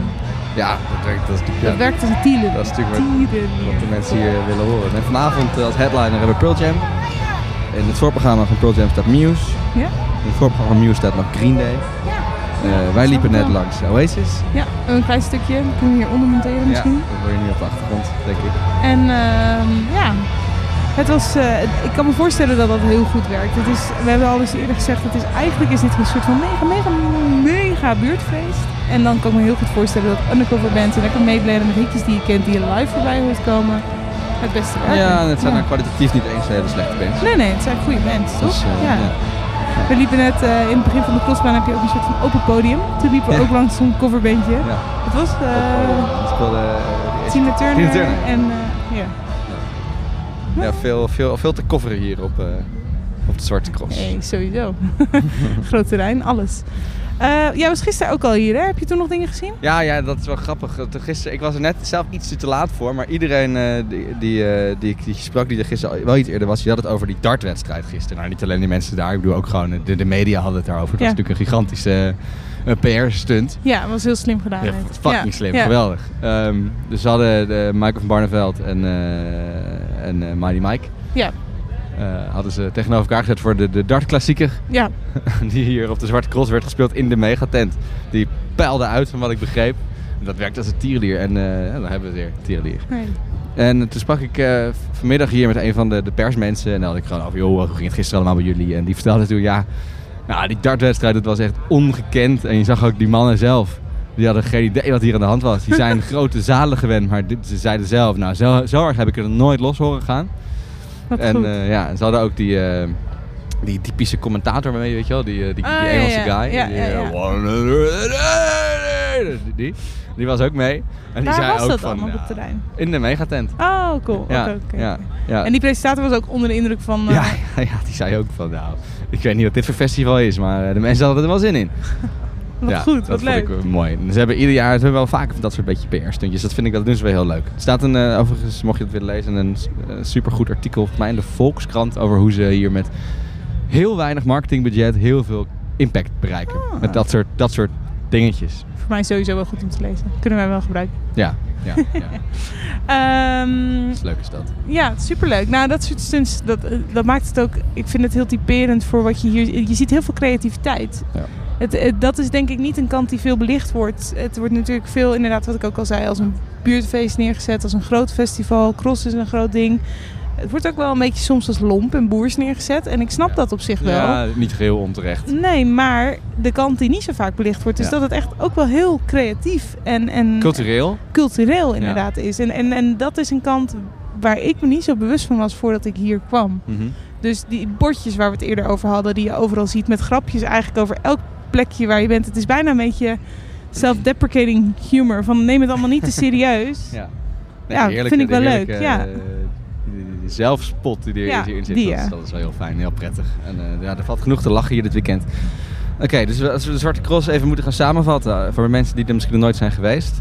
Speaker 5: ja, dat werkt, dat, is-
Speaker 6: dat
Speaker 5: ja,
Speaker 6: werkt als een tielen.
Speaker 5: dat is natuurlijk wat- wat de mensen hier eh, willen horen. En vanavond eh, als headliner hebben we Pearl Jam. In het voorprogramma van Pearl Jam staat Muse.
Speaker 6: Ja?
Speaker 5: In het voorprogramma van Muse staat nog Green Day. Eh, wij liepen net
Speaker 6: wel.
Speaker 5: langs Oasis.
Speaker 6: ja, een klein stukje. Kunnen we hier ondermonteren
Speaker 5: Ja,
Speaker 6: misschien?
Speaker 5: dat hoor je nu op de achtergrond, denk ik.
Speaker 6: En ehm, ja, het was, eh, het- ik kan me voorstellen dat dat heel goed werkt. Het is, we hebben al eens eerder gezegd, het is, eigenlijk is dit een soort van mega, mega, mega buurtfeest. En dan kan ik me heel goed voorstellen dat undercover bands en lekker meebladen met hitjes die je kent, die je live voorbij hoort komen, het beste werken.
Speaker 5: Ja, en het zijn dan kwalitatief niet eens hele slechte bands.
Speaker 6: Nee, nee, het zijn goede bands, toch?
Speaker 5: Dus, eh,
Speaker 6: ja.
Speaker 5: ja.
Speaker 6: We liepen net, eh, in het begin van de crossbaan heb je ook een soort van open podium. Toen liepen we
Speaker 5: Ja.
Speaker 6: ook langs zo'n coverbandje.
Speaker 5: Ja.
Speaker 6: Het was eh
Speaker 5: Dat speelde, eh, die
Speaker 6: Tina Turner,
Speaker 5: Tina Turner.
Speaker 6: en eh, ja.
Speaker 5: Ja, veel, veel, veel te coveren hier op, eh, op de Zwarte Cross.
Speaker 6: Nee, sowieso. Groot terrein, alles. Eh jij was gisteren ook al hier, hè? Heb je toen nog dingen gezien?
Speaker 5: Ja, ja, dat is wel grappig. Toen Gisteren, ik was er net zelf iets te laat voor, maar iedereen eh, die, die, eh, die ik die ik sprak, die er gisteren al- wel iets eerder was, die had het over die dartwedstrijd gisteren. Nou, niet alleen die mensen daar, ik bedoel ook gewoon eh, de, de media hadden het daarover. Het
Speaker 6: Ja.
Speaker 5: was natuurlijk een gigantische eh, PR-stunt.
Speaker 6: Ja, dat was heel slim gedaan.
Speaker 5: Ja,
Speaker 6: net.
Speaker 5: fucking
Speaker 6: Ja,
Speaker 5: slim,
Speaker 6: ja.
Speaker 5: geweldig. Ehm, dus ze hadden de Michael van Barneveld en, eh, en eh, Mighty Mike.
Speaker 6: Ja,
Speaker 5: eh, hadden ze tegenover elkaar gezet voor de, de dartklassieker.
Speaker 6: ja.
Speaker 5: die hier op de Zwarte Cross werd gespeeld in de megatent. Die peilde uit van wat ik begreep. En Dat werkt als een tierlier. En eh, ja, dan hebben we het weer, tierlier.
Speaker 6: Nee.
Speaker 5: En toen sprak ik eh, vanmiddag hier met een van de, de persmensen. En dan had ik gewoon over, joh, hoe ging het gisteren allemaal bij jullie? En die vertelde toen, ja, nou, die dartwedstrijd, dat was echt ongekend. En je zag ook die mannen zelf. Die hadden geen idee wat hier aan de hand was. Die zijn grote zalen gewend, maar dit, ze zeiden zelf, nou, zo, zo erg heb ik er nooit los horen gaan.
Speaker 6: Wat
Speaker 5: En
Speaker 6: goed.
Speaker 5: eh, ja, en ze hadden ook die, eh, die typische commentator mee, weet je wel? Die, eh, die, die
Speaker 6: Ah, ja,
Speaker 5: Engelse
Speaker 6: ja.
Speaker 5: guy.
Speaker 6: Ja,
Speaker 5: die,
Speaker 6: ja,
Speaker 5: eh,
Speaker 6: ja.
Speaker 5: Hey, die, die was ook mee. En die
Speaker 6: Waar
Speaker 5: zei
Speaker 6: was
Speaker 5: ook
Speaker 6: dat
Speaker 5: van,
Speaker 6: dan op
Speaker 5: "Nou,
Speaker 6: het terrein?
Speaker 5: In de megatent.
Speaker 6: Oh, cool. Oké,
Speaker 5: Ja,
Speaker 6: oké.
Speaker 5: ja, ja.
Speaker 6: En die presentator was ook onder de indruk van... eh,
Speaker 5: Ja, ja, ja, die zei ook van, nou, ik weet niet wat dit voor festival is, maar eh, de mensen hadden er wel zin in.
Speaker 6: Wat
Speaker 5: ja,
Speaker 6: goed,
Speaker 5: dat
Speaker 6: wat
Speaker 5: vond
Speaker 6: leuk.
Speaker 5: ik wel mooi. En Ze hebben ieder jaar, ze hebben wel vaker van dat soort beetje PR-stuntjes. Dat vind ik, dat doen ze wel heel leuk. Er staat een, eh, overigens, mocht je dat willen lezen, een eh, supergoed artikel volgens mij in de Volkskrant over hoe ze hier met heel weinig marketingbudget heel veel impact bereiken.
Speaker 6: Ah.
Speaker 5: Met dat soort, dat soort dingetjes.
Speaker 6: Voor mij sowieso wel goed om te lezen. Kunnen wij wel gebruiken.
Speaker 5: Ja, ja, ja.
Speaker 6: Ehm,
Speaker 5: Leuk is dat.
Speaker 6: ja, superleuk. Nou, dat soort stunts, dat, eh, dat maakt het ook... Ik vind het heel typerend voor wat je hier... Je ziet heel veel creativiteit.
Speaker 5: Ja.
Speaker 6: Het, het- dat is denk ik niet een kant die veel belicht wordt. Het wordt natuurlijk veel, inderdaad, wat ik ook al zei... als een buurtfeest neergezet, als een groot festival. Cross is een groot ding. Het wordt ook wel een beetje soms als lomp en boers neergezet. En ik snap
Speaker 5: Ja.
Speaker 6: dat op zich wel.
Speaker 5: Ja, niet geheel onterecht.
Speaker 6: Nee, maar de kant die niet zo vaak belicht wordt, is
Speaker 5: Ja.
Speaker 6: dat het echt ook wel heel creatief en, en
Speaker 5: Cultureel.
Speaker 6: cultureel inderdaad is. En, en, en dat is een kant waar ik me niet zo bewust van was voordat ik hier kwam.
Speaker 5: Mhm.
Speaker 6: Dus die bordjes waar we het eerder over hadden, die je overal ziet met grapjes eigenlijk over elk plekje waar je bent. Het is bijna een beetje self-deprecating humor van neem het allemaal niet te serieus.
Speaker 5: Ja.
Speaker 6: Ja, vind ik wel
Speaker 5: de
Speaker 6: leuk,
Speaker 5: heerlijke,
Speaker 6: ja.
Speaker 5: eh, die- die zelfspot die er
Speaker 6: Ja,
Speaker 5: hierin zit,
Speaker 6: die,
Speaker 5: dat, is,
Speaker 6: ja.
Speaker 5: dat is wel heel fijn, heel prettig. En eh, ja, er valt genoeg te lachen hier dit weekend. Oké, dus we- als we de Zwarte Cross even moeten gaan samenvatten, eh, voor de mensen die er misschien nog nooit zijn geweest.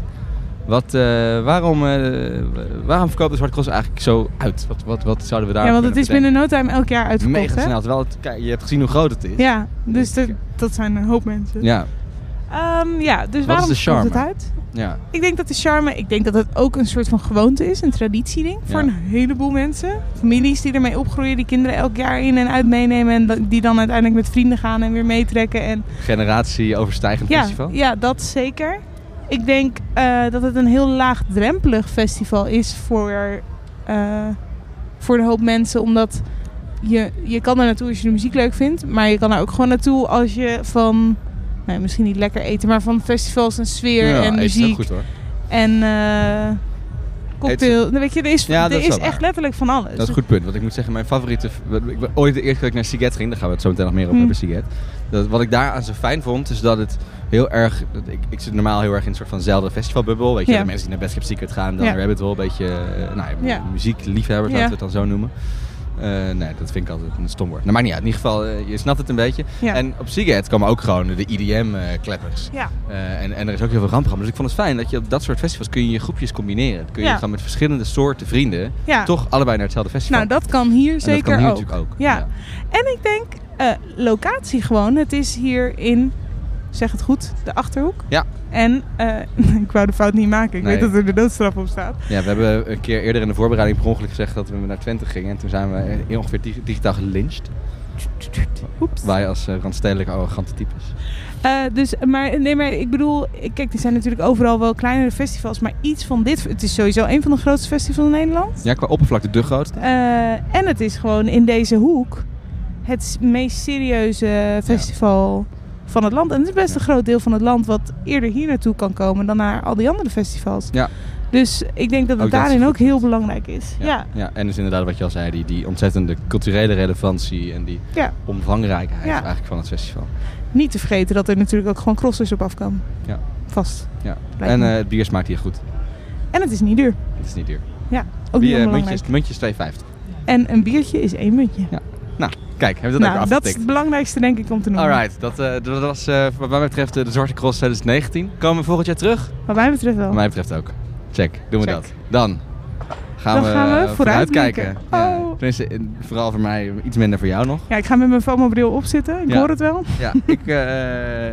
Speaker 5: Wat, eh, waarom, eh, waarom verkoopt de Zwarte Cross eigenlijk zo uit? Wat, wat, wat zouden we daar
Speaker 6: ja, want
Speaker 5: kunnen
Speaker 6: het is binnen no time elk jaar
Speaker 5: bedenken?
Speaker 6: uitverkocht.
Speaker 5: Mega
Speaker 6: Hè?
Speaker 5: snel, terwijl het, kijk, je hebt gezien hoe groot het is.
Speaker 6: Ja, dus dat- dat zijn een hoop mensen.
Speaker 5: Ja,
Speaker 6: Ehm, ja, dus
Speaker 5: is
Speaker 6: waarom
Speaker 5: de
Speaker 6: komt het
Speaker 5: charme?
Speaker 6: uit?
Speaker 5: ja.
Speaker 6: Ik denk dat de charme, ik denk dat het ook een soort van gewoonte is, een traditieding voor
Speaker 5: Ja.
Speaker 6: een heleboel mensen. Families die ermee opgroeien, die kinderen elk jaar in en uit meenemen en da- die dan uiteindelijk met vrienden gaan en weer meetrekken. En
Speaker 5: generatie overstijgend
Speaker 6: ja,
Speaker 5: festival.
Speaker 6: ja, dat zeker. Ik denk eh, dat het een heel laagdrempelig festival is voor, eh, voor een hoop mensen, omdat je, je kan er naartoe als je de muziek leuk vindt, maar je kan er ook gewoon naartoe als je van, nou, misschien niet lekker eten, maar van festivals en sfeer
Speaker 5: Ja,
Speaker 6: en
Speaker 5: eten is ook
Speaker 6: muziek
Speaker 5: goed hoor.
Speaker 6: en eh cocktail. Nou, Weet je, er is,
Speaker 5: Ja, dat
Speaker 6: er
Speaker 5: is wel
Speaker 6: is echt
Speaker 5: waar.
Speaker 6: letterlijk van alles.
Speaker 5: Dat is een goed punt. Want ik moet zeggen, mijn favoriete... Ik ben ooit de eerste keer dat ik naar Siget ging. Daar gaan we het zo meteen nog meer over
Speaker 6: Hmm.
Speaker 5: hebben, Siget. Dat, wat ik daar aan zo fijn vond, is dat het heel erg... Dat ik, ik zit normaal heel erg in een soort vanzelfde festivalbubbel. Weet je,
Speaker 6: Ja.
Speaker 5: de mensen die naar Best Kept Secret gaan, dan
Speaker 6: Ja.
Speaker 5: Rabbit Hole. Een beetje eh, nou, ja,
Speaker 6: Ja.
Speaker 5: muziekliefhebbers,
Speaker 6: Ja.
Speaker 5: laten we het dan zo noemen. Eh, nee, dat vind ik altijd een stom woord. Nou, maar niet uit. In ieder geval, eh, je snapt het een beetje.
Speaker 6: Ja.
Speaker 5: En op Siget kwamen ook gewoon de E IDM-kleppers.
Speaker 6: Ja.
Speaker 5: Eh, en, en er is ook heel veel rampprogramma. Dus ik vond het fijn dat je op dat soort festivals kun je je groepjes combineren. Dan kun je
Speaker 6: Ja.
Speaker 5: gewoon met verschillende soorten vrienden
Speaker 6: Ja.
Speaker 5: toch allebei naar hetzelfde festival.
Speaker 6: Nou, dat kan hier
Speaker 5: En dat
Speaker 6: zeker
Speaker 5: kan hier
Speaker 6: ook.
Speaker 5: natuurlijk ook.
Speaker 6: Ja. En ik denk, eh, locatie gewoon. Het is hier in, zeg het goed, de Achterhoek.
Speaker 5: Ja.
Speaker 6: En, eh, ik wou de fout niet maken. Ik
Speaker 5: Nee.
Speaker 6: weet dat er de doodstraf op staat.
Speaker 5: Ja, we hebben een keer eerder in de voorbereiding per ongeluk gezegd dat we naar Twente gingen. En toen zijn we eh, ongeveer dig- digitaal gelyncht.
Speaker 6: Oeps.
Speaker 5: Wij als eh, randstedelijke arrogante types.
Speaker 6: Eh, dus, maar, nee, maar ik bedoel, kijk, er zijn natuurlijk overal wel kleinere festivals. Maar iets van dit, het is sowieso een van de grootste festivals in Nederland.
Speaker 5: Ja, qua oppervlakte de grootste.
Speaker 6: Eh, en het is gewoon in deze hoek het s- meest serieuze festival van het land. En het is best
Speaker 5: Ja.
Speaker 6: een groot deel van het land wat eerder hier naartoe kan komen dan naar al die andere festivals.
Speaker 5: Ja.
Speaker 6: Dus ik denk dat het
Speaker 5: Ook dat is
Speaker 6: daarin
Speaker 5: goed
Speaker 6: ook heel belangrijk is. Ja.
Speaker 5: ja. en dus inderdaad wat je al zei, die, die ontzettende culturele relevantie en die
Speaker 6: Ja.
Speaker 5: omvangrijkheid
Speaker 6: Ja.
Speaker 5: eigenlijk van het festival.
Speaker 6: Niet te vergeten dat er natuurlijk ook gewoon crossers op af kan.
Speaker 5: Ja.
Speaker 6: Vast.
Speaker 5: Ja.
Speaker 6: Lijkt
Speaker 5: En
Speaker 6: me.
Speaker 5: eh, het bier smaakt hier goed.
Speaker 6: En het is niet duur.
Speaker 5: Het is niet duur.
Speaker 6: Ja,
Speaker 5: Bier,
Speaker 6: ook niet
Speaker 5: eh,
Speaker 6: onbelangrijk.
Speaker 5: muntjes, muntjes 2,50.
Speaker 6: En een biertje is één muntje.
Speaker 5: Nou, kijk, hebben we dat ook
Speaker 6: nou,
Speaker 5: weer
Speaker 6: dat is
Speaker 5: afgetikt.
Speaker 6: het belangrijkste denk ik om te noemen.
Speaker 5: Alright, dat, eh, dat was eh, wat mij betreft eh, de Zwarte Cross 2019. Komen we volgend jaar terug?
Speaker 6: Wat mij betreft wel.
Speaker 5: Wat mij betreft ook. Check, doen we
Speaker 6: Check.
Speaker 5: dat. Dan gaan
Speaker 6: Dan
Speaker 5: we,
Speaker 6: gaan we
Speaker 5: eh,
Speaker 6: vooruitblikken.
Speaker 5: vooruitkijken.
Speaker 6: Oh.
Speaker 5: Ja, tenminste, in- vooral voor mij iets minder voor jou nog.
Speaker 6: Ja, ik ga met mijn FOMO-bril opzitten. Ik
Speaker 5: Ja.
Speaker 6: hoor het wel.
Speaker 5: Ja, ik,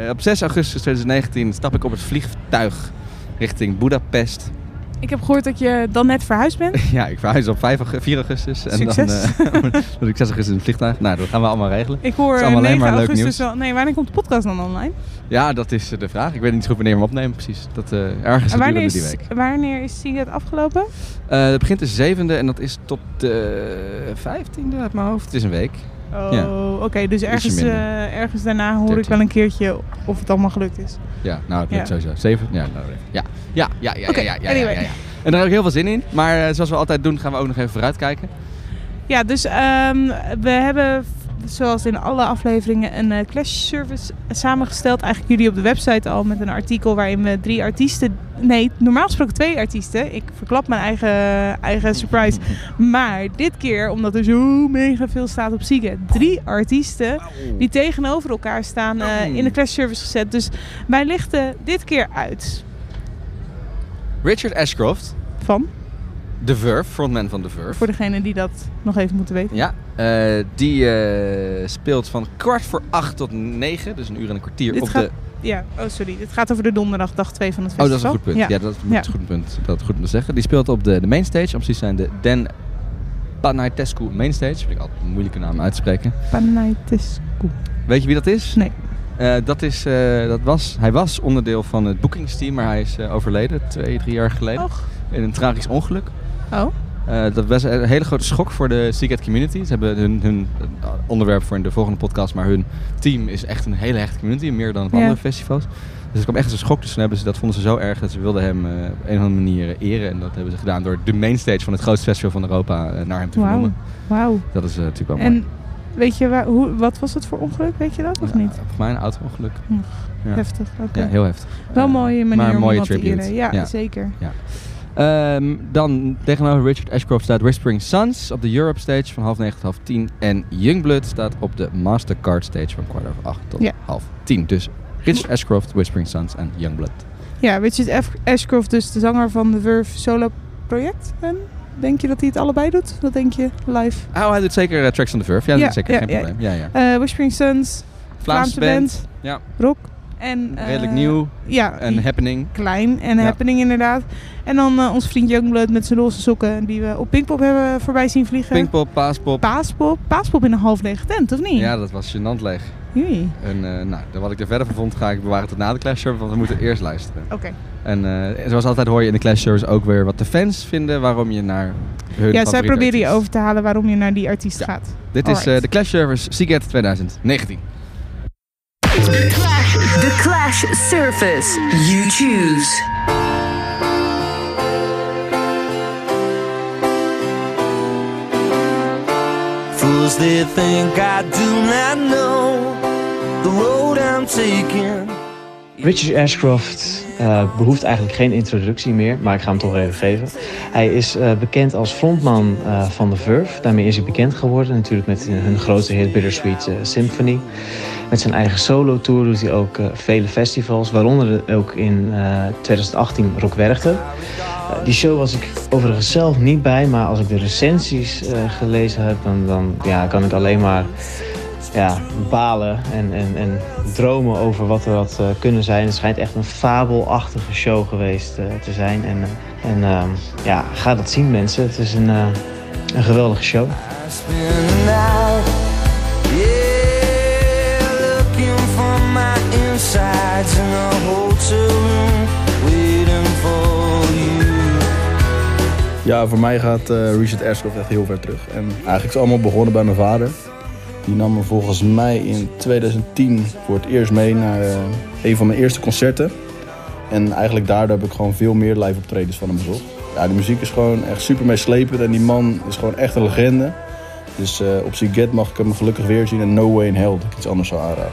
Speaker 5: eh, op 6 augustus 2019 stap ik op het vliegtuig richting Budapest.
Speaker 6: Ik heb gehoord dat je dan net verhuisd bent.
Speaker 5: Ja, ik verhuis op 5 augustus, 4 augustus.
Speaker 6: Succes.
Speaker 5: dan eh, dat ik 6 augustus in het vliegtuig. Nou, dat gaan we allemaal regelen.
Speaker 6: Ik hoor
Speaker 5: Het is
Speaker 6: eh,
Speaker 5: allemaal
Speaker 6: 9
Speaker 5: alleen maar leuk
Speaker 6: augustus
Speaker 5: nieuws.
Speaker 6: wel. Nee, wanneer komt de podcast dan online?
Speaker 5: Ja, dat is eh, de vraag. Ik weet niet zo goed wanneer we hem opnemen precies. Dat, eh, ergens
Speaker 6: En wanneer
Speaker 5: gedurende die
Speaker 6: is,
Speaker 5: week.
Speaker 6: wanneer is het afgelopen?
Speaker 5: Eh het begint de 7e en dat is tot de 15e uit mijn hoofd. Het is een week.
Speaker 6: Oh,
Speaker 5: Ja.
Speaker 6: oké. dus ergens,
Speaker 5: minder.
Speaker 6: eh, ergens daarna hoor ik
Speaker 5: 13.
Speaker 6: wel een keertje of het allemaal gelukt is.
Speaker 5: Ja, nou, het
Speaker 6: Ja.
Speaker 5: lukt sowieso. Zeven? Ja, nou, even. ja, ja, ja, ja,
Speaker 6: Oké,
Speaker 5: ja, ja, ja,
Speaker 6: anyway.
Speaker 5: ja, ja. En daar heb ik heel veel zin in. Maar eh, zoals we altijd doen, gaan we ook nog even vooruitkijken.
Speaker 6: Ja, dus ehm, we hebben zoals in alle afleveringen, een eh, clash service samengesteld. Eigenlijk jullie op de website al met een artikel waarin we drie artiesten... Nee, normaal gesproken twee artiesten. Ik verklap mijn eigen, eigen surprise. Maar dit keer, omdat er zo mega veel staat op zieken, drie artiesten die tegenover elkaar staan eh, in de clash service gezet. Dus wij lichten dit keer uit
Speaker 5: Richard Ashcroft,
Speaker 6: van,
Speaker 5: The Verve, frontman van The Verve.
Speaker 6: voor degenen die dat nog even moeten weten.
Speaker 5: Ja, eh, die eh, speelt van kwart voor acht tot negen, dus een uur en een kwartier.
Speaker 6: Dit
Speaker 5: op
Speaker 6: gaat-
Speaker 5: de...
Speaker 6: Ja, oh sorry. Dit gaat over de donderdag, dag 2 van het
Speaker 5: Oh,
Speaker 6: festival.
Speaker 5: dat is een goed punt. Ja, dat is
Speaker 6: Ja.
Speaker 5: een goed punt. Dat is goed om te zeggen. Die speelt op de, de mainstage. Om precies te zijn de Dan Panaitescu mainstage. Vind ik altijd een moeilijke naam uit te spreken.
Speaker 6: Panaitescu.
Speaker 5: Weet je wie dat is?
Speaker 6: Nee.
Speaker 5: Eh, dat is, eh, dat was, hij was onderdeel van het boekingsteam, maar hij is eh, overleden twee, drie jaar geleden.
Speaker 6: Och.
Speaker 5: In een tragisch ongeluk.
Speaker 6: Oh,
Speaker 5: Eh, dat was een hele grote schok voor de Secret Community. Ze hebben hun, hun eh, onderwerp voor in de volgende podcast, maar hun team is echt een hele hechte community, meer dan op
Speaker 6: Ja.
Speaker 5: andere festivals. Dus het kwam echt als een schok. Dus toen hebben ze, dat vonden ze zo erg dat ze wilden hem eh, op een of andere manier eren. En dat hebben ze gedaan door de mainstage van het grootste festival van Europa eh, naar hem te
Speaker 6: wauw.
Speaker 5: vernoemen.
Speaker 6: Wauw.
Speaker 5: Dat is eh, natuurlijk wel mooi.
Speaker 6: En weet je, waar, hoe, wat was het voor ongeluk? Weet je dat of
Speaker 5: Ja,
Speaker 6: niet? Hm,
Speaker 5: Volgens mij een auto-ongeluk. ja.
Speaker 6: Heftig, oké.
Speaker 5: Ja, heel heftig.
Speaker 6: Wel
Speaker 5: Eh,
Speaker 6: een mooie manier
Speaker 5: maar een
Speaker 6: om
Speaker 5: mooie
Speaker 6: iemand te
Speaker 5: tribute.
Speaker 6: eren. Ja,
Speaker 5: Ja.
Speaker 6: zeker.
Speaker 5: Ehm, dan tegenover Richard Ashcroft staat Whispering Suns op de Europe Stage van half negen tot half tien. En Youngblood staat op de Mastercard Stage van kwart over acht tot
Speaker 6: Ja.
Speaker 5: half tien. Dus Richard Ashcroft, Whispering Suns en Youngblood.
Speaker 6: Ja, Richard F. Ashcroft, dus de zanger van de Verve solo project. En denk je dat hij het allebei doet? Wat denk je live?
Speaker 5: Oh, hij doet zeker eh, Tracks on the Verve. Ja, dat
Speaker 6: Ja,
Speaker 5: is zeker.
Speaker 6: ja,
Speaker 5: geen
Speaker 6: ja.
Speaker 5: probleem. Ja, ja.
Speaker 6: Eh Whispering Suns, Vlaamse band.
Speaker 5: Ja.
Speaker 6: rock. En, eh,
Speaker 5: Redelijk nieuw.
Speaker 6: Ja,
Speaker 5: En Happening.
Speaker 6: klein en
Speaker 5: Ja.
Speaker 6: happening inderdaad. En dan eh, ons vriend Youngblood met zijn roze sokken die we op Pinkpop hebben voorbij zien vliegen.
Speaker 5: Pinkpop, Paaspop.
Speaker 6: Paaspop. Paaspop in een half lege tent, of niet?
Speaker 5: Ja, dat was gênant leeg.
Speaker 6: Jee.
Speaker 5: En eh, nou, wat ik er verder van vond ga ik bewaren tot na de Clash Service, want we moeten eerst luisteren.
Speaker 6: Oké.
Speaker 5: En eh, zoals altijd hoor je in de Clash Service ook weer wat de fans vinden waarom je naar hun
Speaker 6: Ja, zij
Speaker 5: favoriete
Speaker 6: proberen je
Speaker 5: artiest-
Speaker 6: over te halen waarom je naar die artiest
Speaker 5: Ja.
Speaker 6: gaat.
Speaker 5: Dit is
Speaker 6: Alright.
Speaker 5: eh, de Clash Service Seagate 2019.
Speaker 3: The Clash Surface. You choose.
Speaker 9: Fools, they think I do not know the road I'm taking.
Speaker 10: Richard Ashcroft eh, behoeft eigenlijk geen introductie meer, maar ik ga hem toch even geven. Hij is eh, bekend als frontman eh, van The Verve. Daarmee is hij bekend geworden, natuurlijk met eh, hun grote hit Bittersweet eh, Symphony. Met zijn eigen solo-tour doet hij ook eh, vele festivals, waaronder ook in eh, 2018 Rock Werchter. Eh, die show was ik overigens zelf niet bij, maar als ik de recensies eh, gelezen heb, dan, dan ja, kan ik alleen maar ja, balen en, en, en dromen over wat er had eh, kunnen zijn. Het schijnt echt een fabelachtige show geweest eh, te zijn. En, eh, en ehm, ja, ga dat zien mensen. Het is een, eh, een geweldige show.
Speaker 9: I spend the night, yeah, looking for my insides in a hotel room, waiting for you.
Speaker 11: Ja, voor mij gaat eh, Richard Ashcroft echt heel ver terug. En eigenlijk is het allemaal begonnen bij mijn vader. Die nam me volgens mij in 2010 voor het eerst mee naar eh, een van mijn eerste concerten. En eigenlijk daardoor heb ik gewoon veel meer live optredens van hem bezocht. Ja, de muziek is gewoon echt super meeslepend en die man is gewoon echt een legende. Dus eh, op Siget mag ik hem gelukkig weer zien en No Way in Hell dat ik iets anders zou aanraden.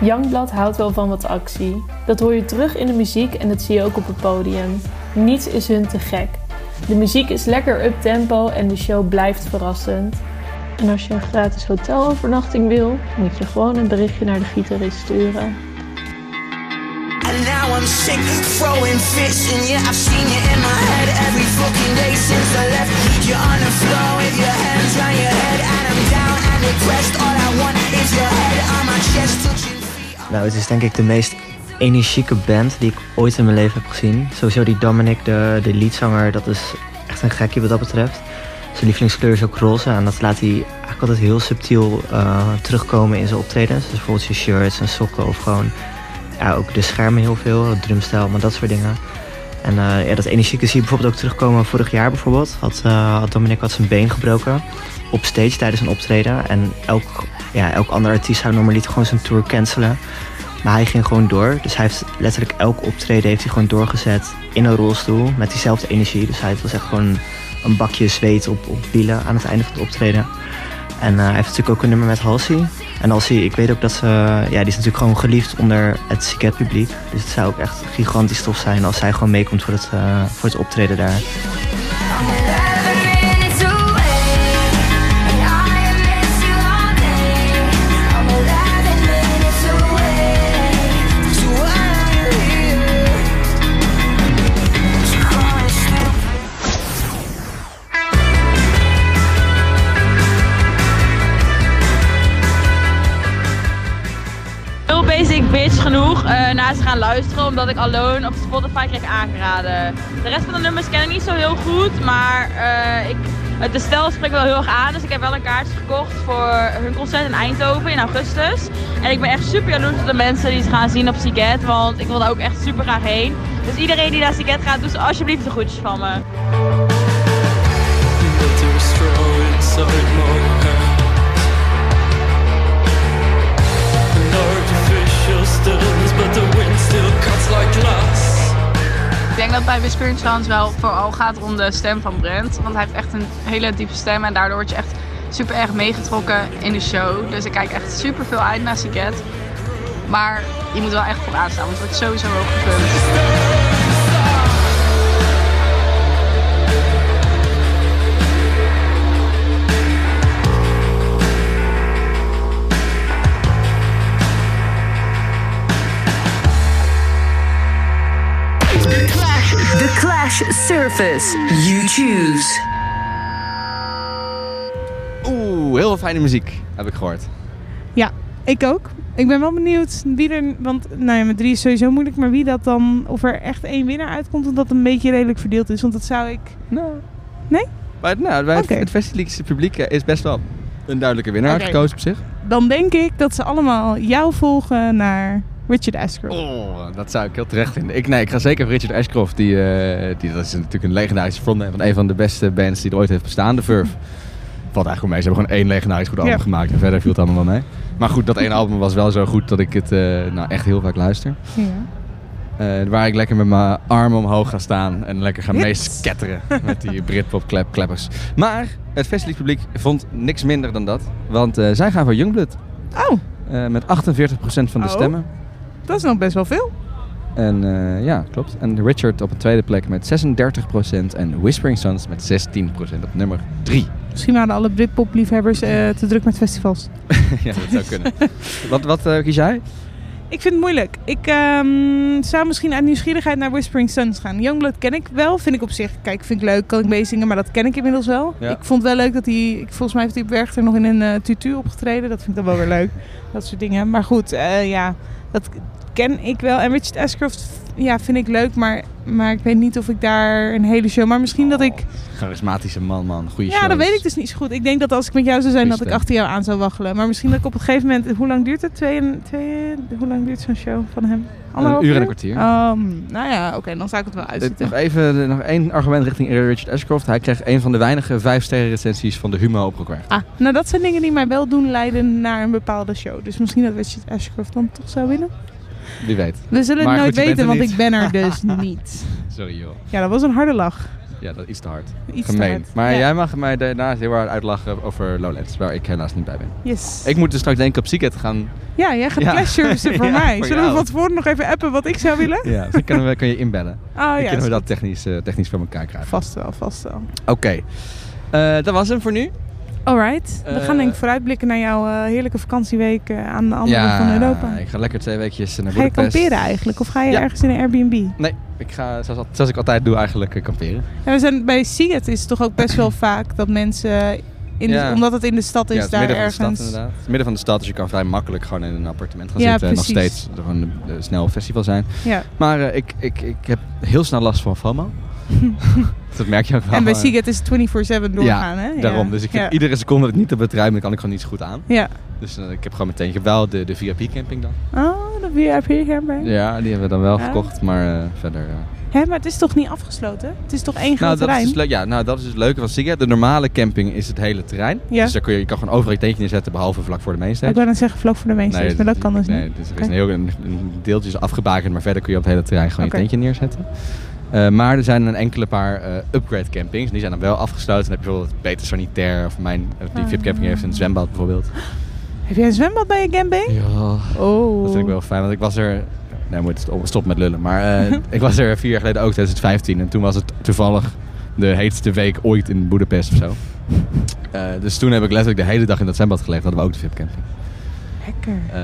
Speaker 12: Youngblood houdt wel van wat actie. Dat hoor je terug in de muziek en dat zie je ook op het podium. Niets is hun te gek. De muziek is lekker up-tempo en de show blijft verrassend. En als je een gratis hotelovernachting wil, moet je gewoon een berichtje naar de gitarist sturen.
Speaker 9: And now I'm sick, throwing fits, and yeah, I've seen you in my head every fucking day since I left. You're on the floor with your hands on your head, and I'm down and depressed. All I want is your head on my chest, touching feet.
Speaker 10: Nou, het is denk ik de meest energieke band die ik ooit in mijn leven heb gezien. Sowieso die Dominic, de, de leadzanger, dat is echt een gekje wat dat betreft. Zijn lievelingskleur is ook roze en dat laat hij eigenlijk altijd heel subtiel eh, terugkomen in zijn optredens. Dus bijvoorbeeld zijn shirts en sokken of gewoon ja, ook de schermen heel veel, het drumstijl, maar dat soort dingen. En eh, ja, dat energieke zie je bijvoorbeeld ook terugkomen vorig jaar bijvoorbeeld. Had, eh had Dominic had zijn been gebroken op stage tijdens een optreden. En elk, ja, elk ander artiest zou normaliter gewoon zijn tour cancelen. Maar hij ging gewoon door. Dus hij heeft letterlijk elk optreden heeft hij gewoon doorgezet in een rolstoel met diezelfde energie. Dus hij was echt gewoon een bakje zweet op, op wielen aan het einde van het optreden. En eh, hij heeft natuurlijk ook een nummer met Halsey. En Halsey, ik weet ook dat ze... Ja, die is natuurlijk gewoon geliefd onder het Siget publiek. Dus het zou ook echt gigantisch tof zijn als zij gewoon meekomt voor het, eh, voor het optreden daar.
Speaker 13: heel basic bitch genoeg eh, naar te gaan luisteren, omdat ik Alone op Spotify kreeg aangeraden. De rest van de nummers ken ik niet zo heel goed, maar eh, ik, het de stijl spreekt wel heel erg aan. Dus ik heb wel een kaartje gekocht voor hun concert in Eindhoven in augustus. En ik ben echt super jaloers op de mensen die ze gaan zien op Siget, want ik wil daar ook echt super graag heen. Dus iedereen die naar Siget gaat, doe ze alsjeblieft de groetjes van me.
Speaker 14: Ik denk dat bij Whispering Sounds wel vooral gaat om de stem van Brent. Want hij heeft echt een hele diepe stem en daardoor word je echt super erg meegetrokken in de show. Dus ik kijk echt super veel uit naar Siget. Maar je moet wel echt vooraan staan, want het wordt sowieso hoog gegund.
Speaker 3: The Clash. The Clash Surface. You choose.
Speaker 5: Oeh, heel fijne muziek, heb ik gehoord.
Speaker 6: Ja, ik ook. Ik ben wel benieuwd wie er, want nou ja, met drie is sowieso moeilijk, maar wie dat dan, of er echt één winnaar uitkomt, omdat dat een beetje redelijk verdeeld is. Want dat zou ik.
Speaker 5: Nou.
Speaker 6: Nee?
Speaker 5: Maar nou, bij het- het Festivalse publiek eh, is best wel een duidelijke winnaar
Speaker 6: Oké.
Speaker 5: gekozen op zich.
Speaker 6: Dan denk ik dat ze allemaal jou volgen naar Richard Ashcroft.
Speaker 5: Oh, dat zou ik heel terecht vinden. Ik, nee, ik ga zeker voor Richard Ashcroft. Die, eh, die, dat is natuurlijk een legendarische frontman van een van de beste bands die er ooit heeft bestaan, The Verve. Valt eigenlijk wel mee. Ze hebben gewoon één legendarisch goed album
Speaker 8: Ja.
Speaker 5: gemaakt. En verder viel het allemaal wel mee. Maar goed, dat één album was wel zo goed dat ik het eh, nou, echt heel vaak luister. Eh, waar ik lekker met mijn armen omhoog ga staan en lekker ga
Speaker 8: Yes.
Speaker 5: meesketteren met die Britpop klep kleppers. Maar het festivalpubliek vond niks minder dan dat. Want eh, zij gaan voor Youngblood. eh,
Speaker 6: Oh.
Speaker 5: met 48% van de
Speaker 6: Oh.
Speaker 5: stemmen.
Speaker 6: Dat is nog best wel veel.
Speaker 5: En eh, ja, klopt. En Richard op een tweede plek met 36% en Whispering Sons met 16% op nummer 3.
Speaker 6: Misschien waren alle Britpop-liefhebbers eh, te druk met festivals.
Speaker 5: ja, dat zou kunnen. wat wat eh, kies jij?
Speaker 6: Ik vind het moeilijk. Ik ehm, zou misschien uit nieuwsgierigheid naar Whispering Suns gaan. Youngblood ken ik wel, vind ik op zich. Kijk, vind ik leuk, kan ik meezingen, maar dat ken ik inmiddels wel.
Speaker 5: Ja.
Speaker 6: Ik vond wel leuk dat hij, ik- volgens mij heeft hij op Werchter nog in een eh, tutu opgetreden. Dat vind ik dan wel weer leuk. Dat soort dingen. Maar goed, eh, ja, dat ken ik wel. En Richard Ashcroft, ja, vind ik leuk, maar, maar ik weet niet of ik daar een hele show... Maar misschien dat ik...
Speaker 5: Charismatische man, man. Goeie
Speaker 6: Ja, dat
Speaker 5: shows.
Speaker 6: weet ik dus niet zo goed. Ik denk dat als ik met jou zou zijn,
Speaker 5: Goeie
Speaker 6: dat ik
Speaker 5: stem.
Speaker 6: achter jou aan zou waggelen. Maar misschien dat ik op een gegeven moment... Hoe lang duurt het? Twee, en- twee, hoe lang duurt zo'n show van hem? Anderhalf
Speaker 5: uur en een kwartier.
Speaker 6: Um, nou ja, oké, dan zou ik het wel
Speaker 5: Dit-
Speaker 6: uitzitten.
Speaker 5: Nog even eh, nog één argument richting Richard Ashcroft. Hij kreeg een van de weinige 5-sterren recensies van de Humo opgebracht.
Speaker 6: Ah, nou dat zijn dingen die mij wel doen leiden naar een bepaalde show. Dus misschien dat Richard Ashcroft dan toch zou winnen.
Speaker 5: Wie weet.
Speaker 6: We zullen
Speaker 5: Maar
Speaker 6: het nooit
Speaker 5: goed, je bent
Speaker 6: weten,
Speaker 5: er
Speaker 6: want ik
Speaker 5: niet.
Speaker 6: ben er dus niet.
Speaker 5: Sorry joh.
Speaker 6: Ja, dat was een harde lach.
Speaker 5: Ja, dat is te hard.
Speaker 6: Iets te
Speaker 5: Gemeen.
Speaker 6: hard,
Speaker 5: Maar
Speaker 6: ja.
Speaker 5: jij mag mij daarnaast heel hard uitlachen over Lowlands, waar ik helaas niet bij ben.
Speaker 6: Yes.
Speaker 5: Ik moet dus straks denk ik op Seeket gaan.
Speaker 6: Ja, jij gaat
Speaker 5: Ja.
Speaker 6: flash servicen voor
Speaker 5: Ja,
Speaker 6: mij.
Speaker 5: voor
Speaker 6: Zullen we
Speaker 5: jou.
Speaker 6: van tevoren nog even appen wat ik zou willen?
Speaker 5: Ja, dan kunnen we, kun je inbellen.
Speaker 6: Oh ja,
Speaker 5: dan
Speaker 6: is
Speaker 5: kunnen we
Speaker 6: goed.
Speaker 5: dat technisch, eh, technisch voor elkaar krijgen.
Speaker 6: Vast wel, vast wel.
Speaker 5: Oké. Eh, dat was hem voor nu.
Speaker 6: Alright, we gaan
Speaker 5: Eh,
Speaker 6: denk ik vooruitblikken naar jouw eh, heerlijke vakantieweek eh, aan de andere
Speaker 5: ja,
Speaker 6: kant van Europa.
Speaker 5: ik ga lekker twee weekjes naar
Speaker 6: Ga je
Speaker 5: Budapest.
Speaker 6: kamperen eigenlijk? Of ga je
Speaker 5: Ja.
Speaker 6: ergens in een Airbnb?
Speaker 5: Nee, ik ga zoals, al- zoals ik altijd doe eigenlijk eh, kamperen.
Speaker 6: Ja, we zijn, bij Seagate is het toch ook best wel vaak dat mensen, in de-
Speaker 5: Ja.
Speaker 6: omdat het in de stad is,
Speaker 5: ja, het
Speaker 6: daar
Speaker 5: midden
Speaker 6: ergens...
Speaker 5: Van de stad, inderdaad. Het is midden van de stad, dus je kan vrij makkelijk gewoon in een appartement gaan
Speaker 6: Ja,
Speaker 5: zitten. En nog
Speaker 6: precies.
Speaker 5: steeds gewoon een eh, snel festival zijn.
Speaker 6: Ja.
Speaker 5: Maar eh, ik, ik, ik heb heel snel last van FOMO. dat merk je ook wel.
Speaker 6: en bij
Speaker 5: eh,
Speaker 6: Seagate is het 24-7 doorgaan,
Speaker 5: ja,
Speaker 6: hè?
Speaker 5: daarom. Dus ik heb
Speaker 6: Ja.
Speaker 5: iedere seconde dat ik niet heb het ruim, dan kan ik gewoon niet zo goed aan.
Speaker 6: Ja.
Speaker 5: Dus eh, ik heb gewoon meteen, ik heb wel de, de VIP-camping dan.
Speaker 6: Oh, de VIP-camper.
Speaker 5: Ja, die hebben we dan wel
Speaker 6: Ja.
Speaker 5: gekocht, maar eh, verder... eh,
Speaker 6: Hè, maar het is toch niet afgesloten? Het is toch één groot
Speaker 5: nou, dat
Speaker 6: terrein?
Speaker 5: Is dus leuk. Ja, nou, dat is dus leuk van Siga. De normale camping is het hele terrein.
Speaker 6: Ja.
Speaker 5: Dus daar kun je, je kan gewoon overal je tentje neerzetten, behalve vlak voor de mainstage.
Speaker 6: Ik wou net zeggen vlak voor de mainstage, maar dat kan dus
Speaker 5: nee,
Speaker 6: niet.
Speaker 5: Dus er
Speaker 6: Oké.
Speaker 5: is een heel een, een deeltje is afgebakend, maar verder kun je op het hele terrein gewoon
Speaker 6: Oké.
Speaker 5: je tentje neerzetten. Eh, maar er zijn een enkele paar eh, upgrade campings. Die zijn dan wel afgesloten. Dan heb je bijvoorbeeld Peter Sanitair of mijn, eh, die
Speaker 6: Ah.
Speaker 5: VIP camping heeft een zwembad bijvoorbeeld.
Speaker 6: Heb jij een zwembad bij je camping?
Speaker 5: Ja.
Speaker 6: Oh.
Speaker 5: Dat vind ik wel fijn, want ik was er... Nee, moet stop, stop met lullen. Maar eh, ik was er vier jaar geleden ook, 2015. En toen was het toevallig de heetste week ooit in Boedapest of zo. Eh, dus toen heb ik letterlijk de hele dag in dat zwembad gelegen. Hadden we ook de VIP-camping.
Speaker 6: Lekker.
Speaker 5: Eh,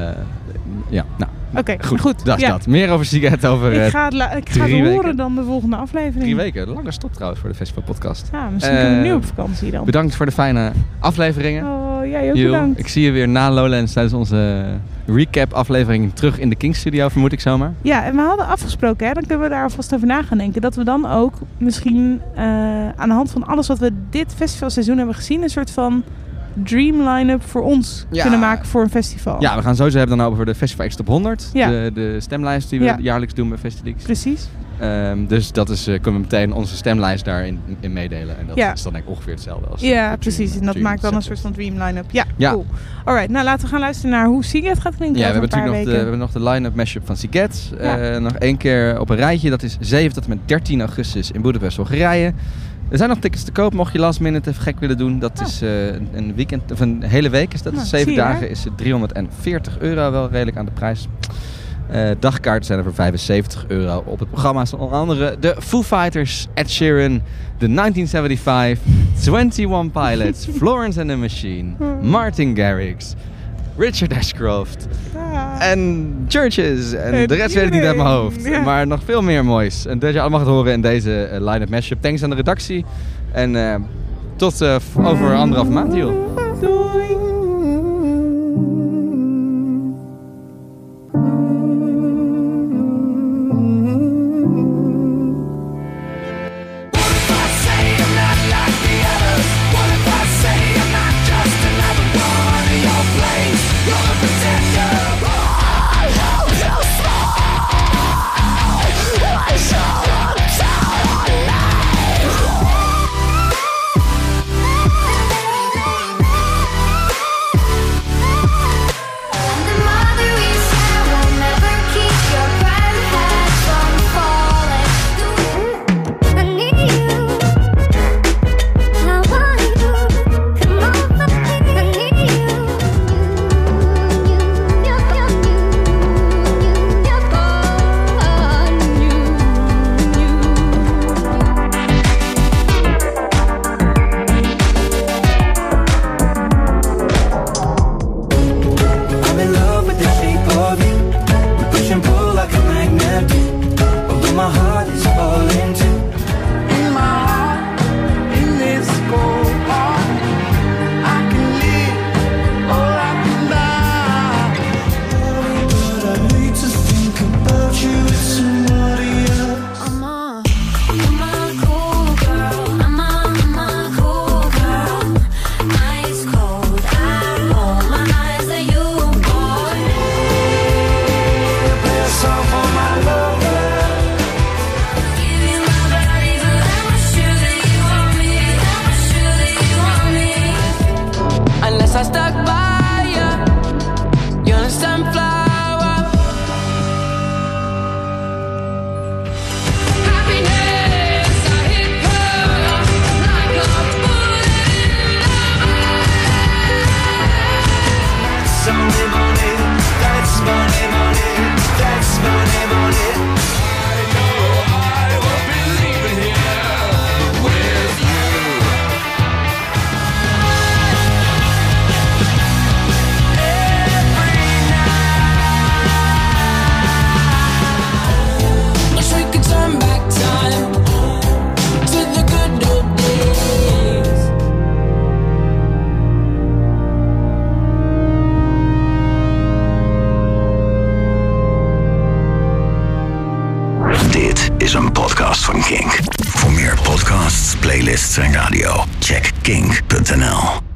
Speaker 5: ja, nou.
Speaker 6: Oké,
Speaker 5: goed.
Speaker 6: goed,
Speaker 5: Dat is
Speaker 6: ja.
Speaker 5: dat. Meer over Sigaret over eh,
Speaker 6: ik ga het, la- ik ga het
Speaker 5: drie
Speaker 6: horen
Speaker 5: weken.
Speaker 6: dan de volgende aflevering.
Speaker 5: Drie weken. De lange stop trouwens voor de Festival Podcast.
Speaker 6: Ja, misschien kunnen we
Speaker 5: Eh,
Speaker 6: nu op vakantie dan.
Speaker 5: Bedankt voor de fijne afleveringen.
Speaker 6: Oh, jij ook
Speaker 5: Jules,
Speaker 6: bedankt.
Speaker 5: ik zie je weer na Lowlands tijdens onze recap aflevering terug in de King Studio, vermoed ik zomaar.
Speaker 6: Ja, en we hadden afgesproken, hè, dan kunnen we daar alvast over na gaan denken. Dat we dan ook misschien eh, aan de hand van alles wat we dit festivalseizoen hebben gezien, een soort van dream line-up voor ons
Speaker 5: Ja.
Speaker 6: kunnen maken voor een festival.
Speaker 5: Ja, we gaan sowieso hebben dan nou over de Festival X Top 100.
Speaker 6: Ja.
Speaker 5: De, de stemlijst die we
Speaker 6: Ja.
Speaker 5: jaarlijks doen bij Festilix.
Speaker 6: Precies.
Speaker 5: Ehm, dus dat is, eh, kunnen we meteen onze stemlijst daarin in meedelen. En dat
Speaker 6: Ja.
Speaker 5: is dan denk ik ongeveer hetzelfde als...
Speaker 6: Ja, precies. En dat
Speaker 5: Dream
Speaker 6: maakt dan een
Speaker 5: Setup.
Speaker 6: soort van dream line-up. Ja,
Speaker 5: Ja.
Speaker 6: cool. Alright, nou laten we gaan luisteren naar hoe Siget gaat klinken
Speaker 5: Ja, we
Speaker 6: over
Speaker 5: hebben
Speaker 6: een paar
Speaker 5: natuurlijk nog de, we
Speaker 6: weken.
Speaker 5: hebben nog de line-up mashup van Siget.
Speaker 6: Ja.
Speaker 5: Eh, nog één keer op een rijtje. Dat is 7 tot en met 13 augustus in Boedapest, Hongarije. Er zijn nog tickets te koop, mocht je last minute even gek willen doen. Dat is eh, een- een weekend, of een hele week is dat.
Speaker 13: Nou,
Speaker 5: Zeven
Speaker 13: zie je, hè?
Speaker 5: dagen is het 340 euro, wel redelijk aan de prijs. Eh, dagkaarten zijn er voor 75 euro. Op het programma staan onder andere de Foo Fighters, Ed Sheeran, de 1975, 21 Pilots, Florence and the Machine,
Speaker 6: Hmm.
Speaker 5: Martin Garrix, Richard Ashcroft en Churches. En
Speaker 13: En
Speaker 5: de rest weet ik niet uit mijn hoofd.
Speaker 13: iedereen, ja.
Speaker 5: Maar nog veel meer moois. En dat je allemaal gaat horen in deze eh, line-up mashup. Thanks aan de redactie. En eh, tot eh, v- over anderhalf maand, joh.
Speaker 13: I'm in love with the shape of you. We push and pull like a magnet do. Although my heart is falling too. In my heart, in this cold heart, I can live or I can die. But I hate to think about you with somebody else. I'm a, I'm a cool girl. I'm a, I'm a cool girl. Ice cold, I roll my eyes at you, boy. It's all for my lover. Give you my body, but I'm sure that you want me. I'm sure that you want me. Unless I stuck by you, you're a sunflower. Happiness, I hit pearl like a bullet That's money, money. That's money, money. That's money, money. I know I will be leaving here with you. Every night. Wish we could turn back time to the good old days.
Speaker 4: Dit is een podcast van Kink. Voor
Speaker 7: playlists en radio. Check kink.nl.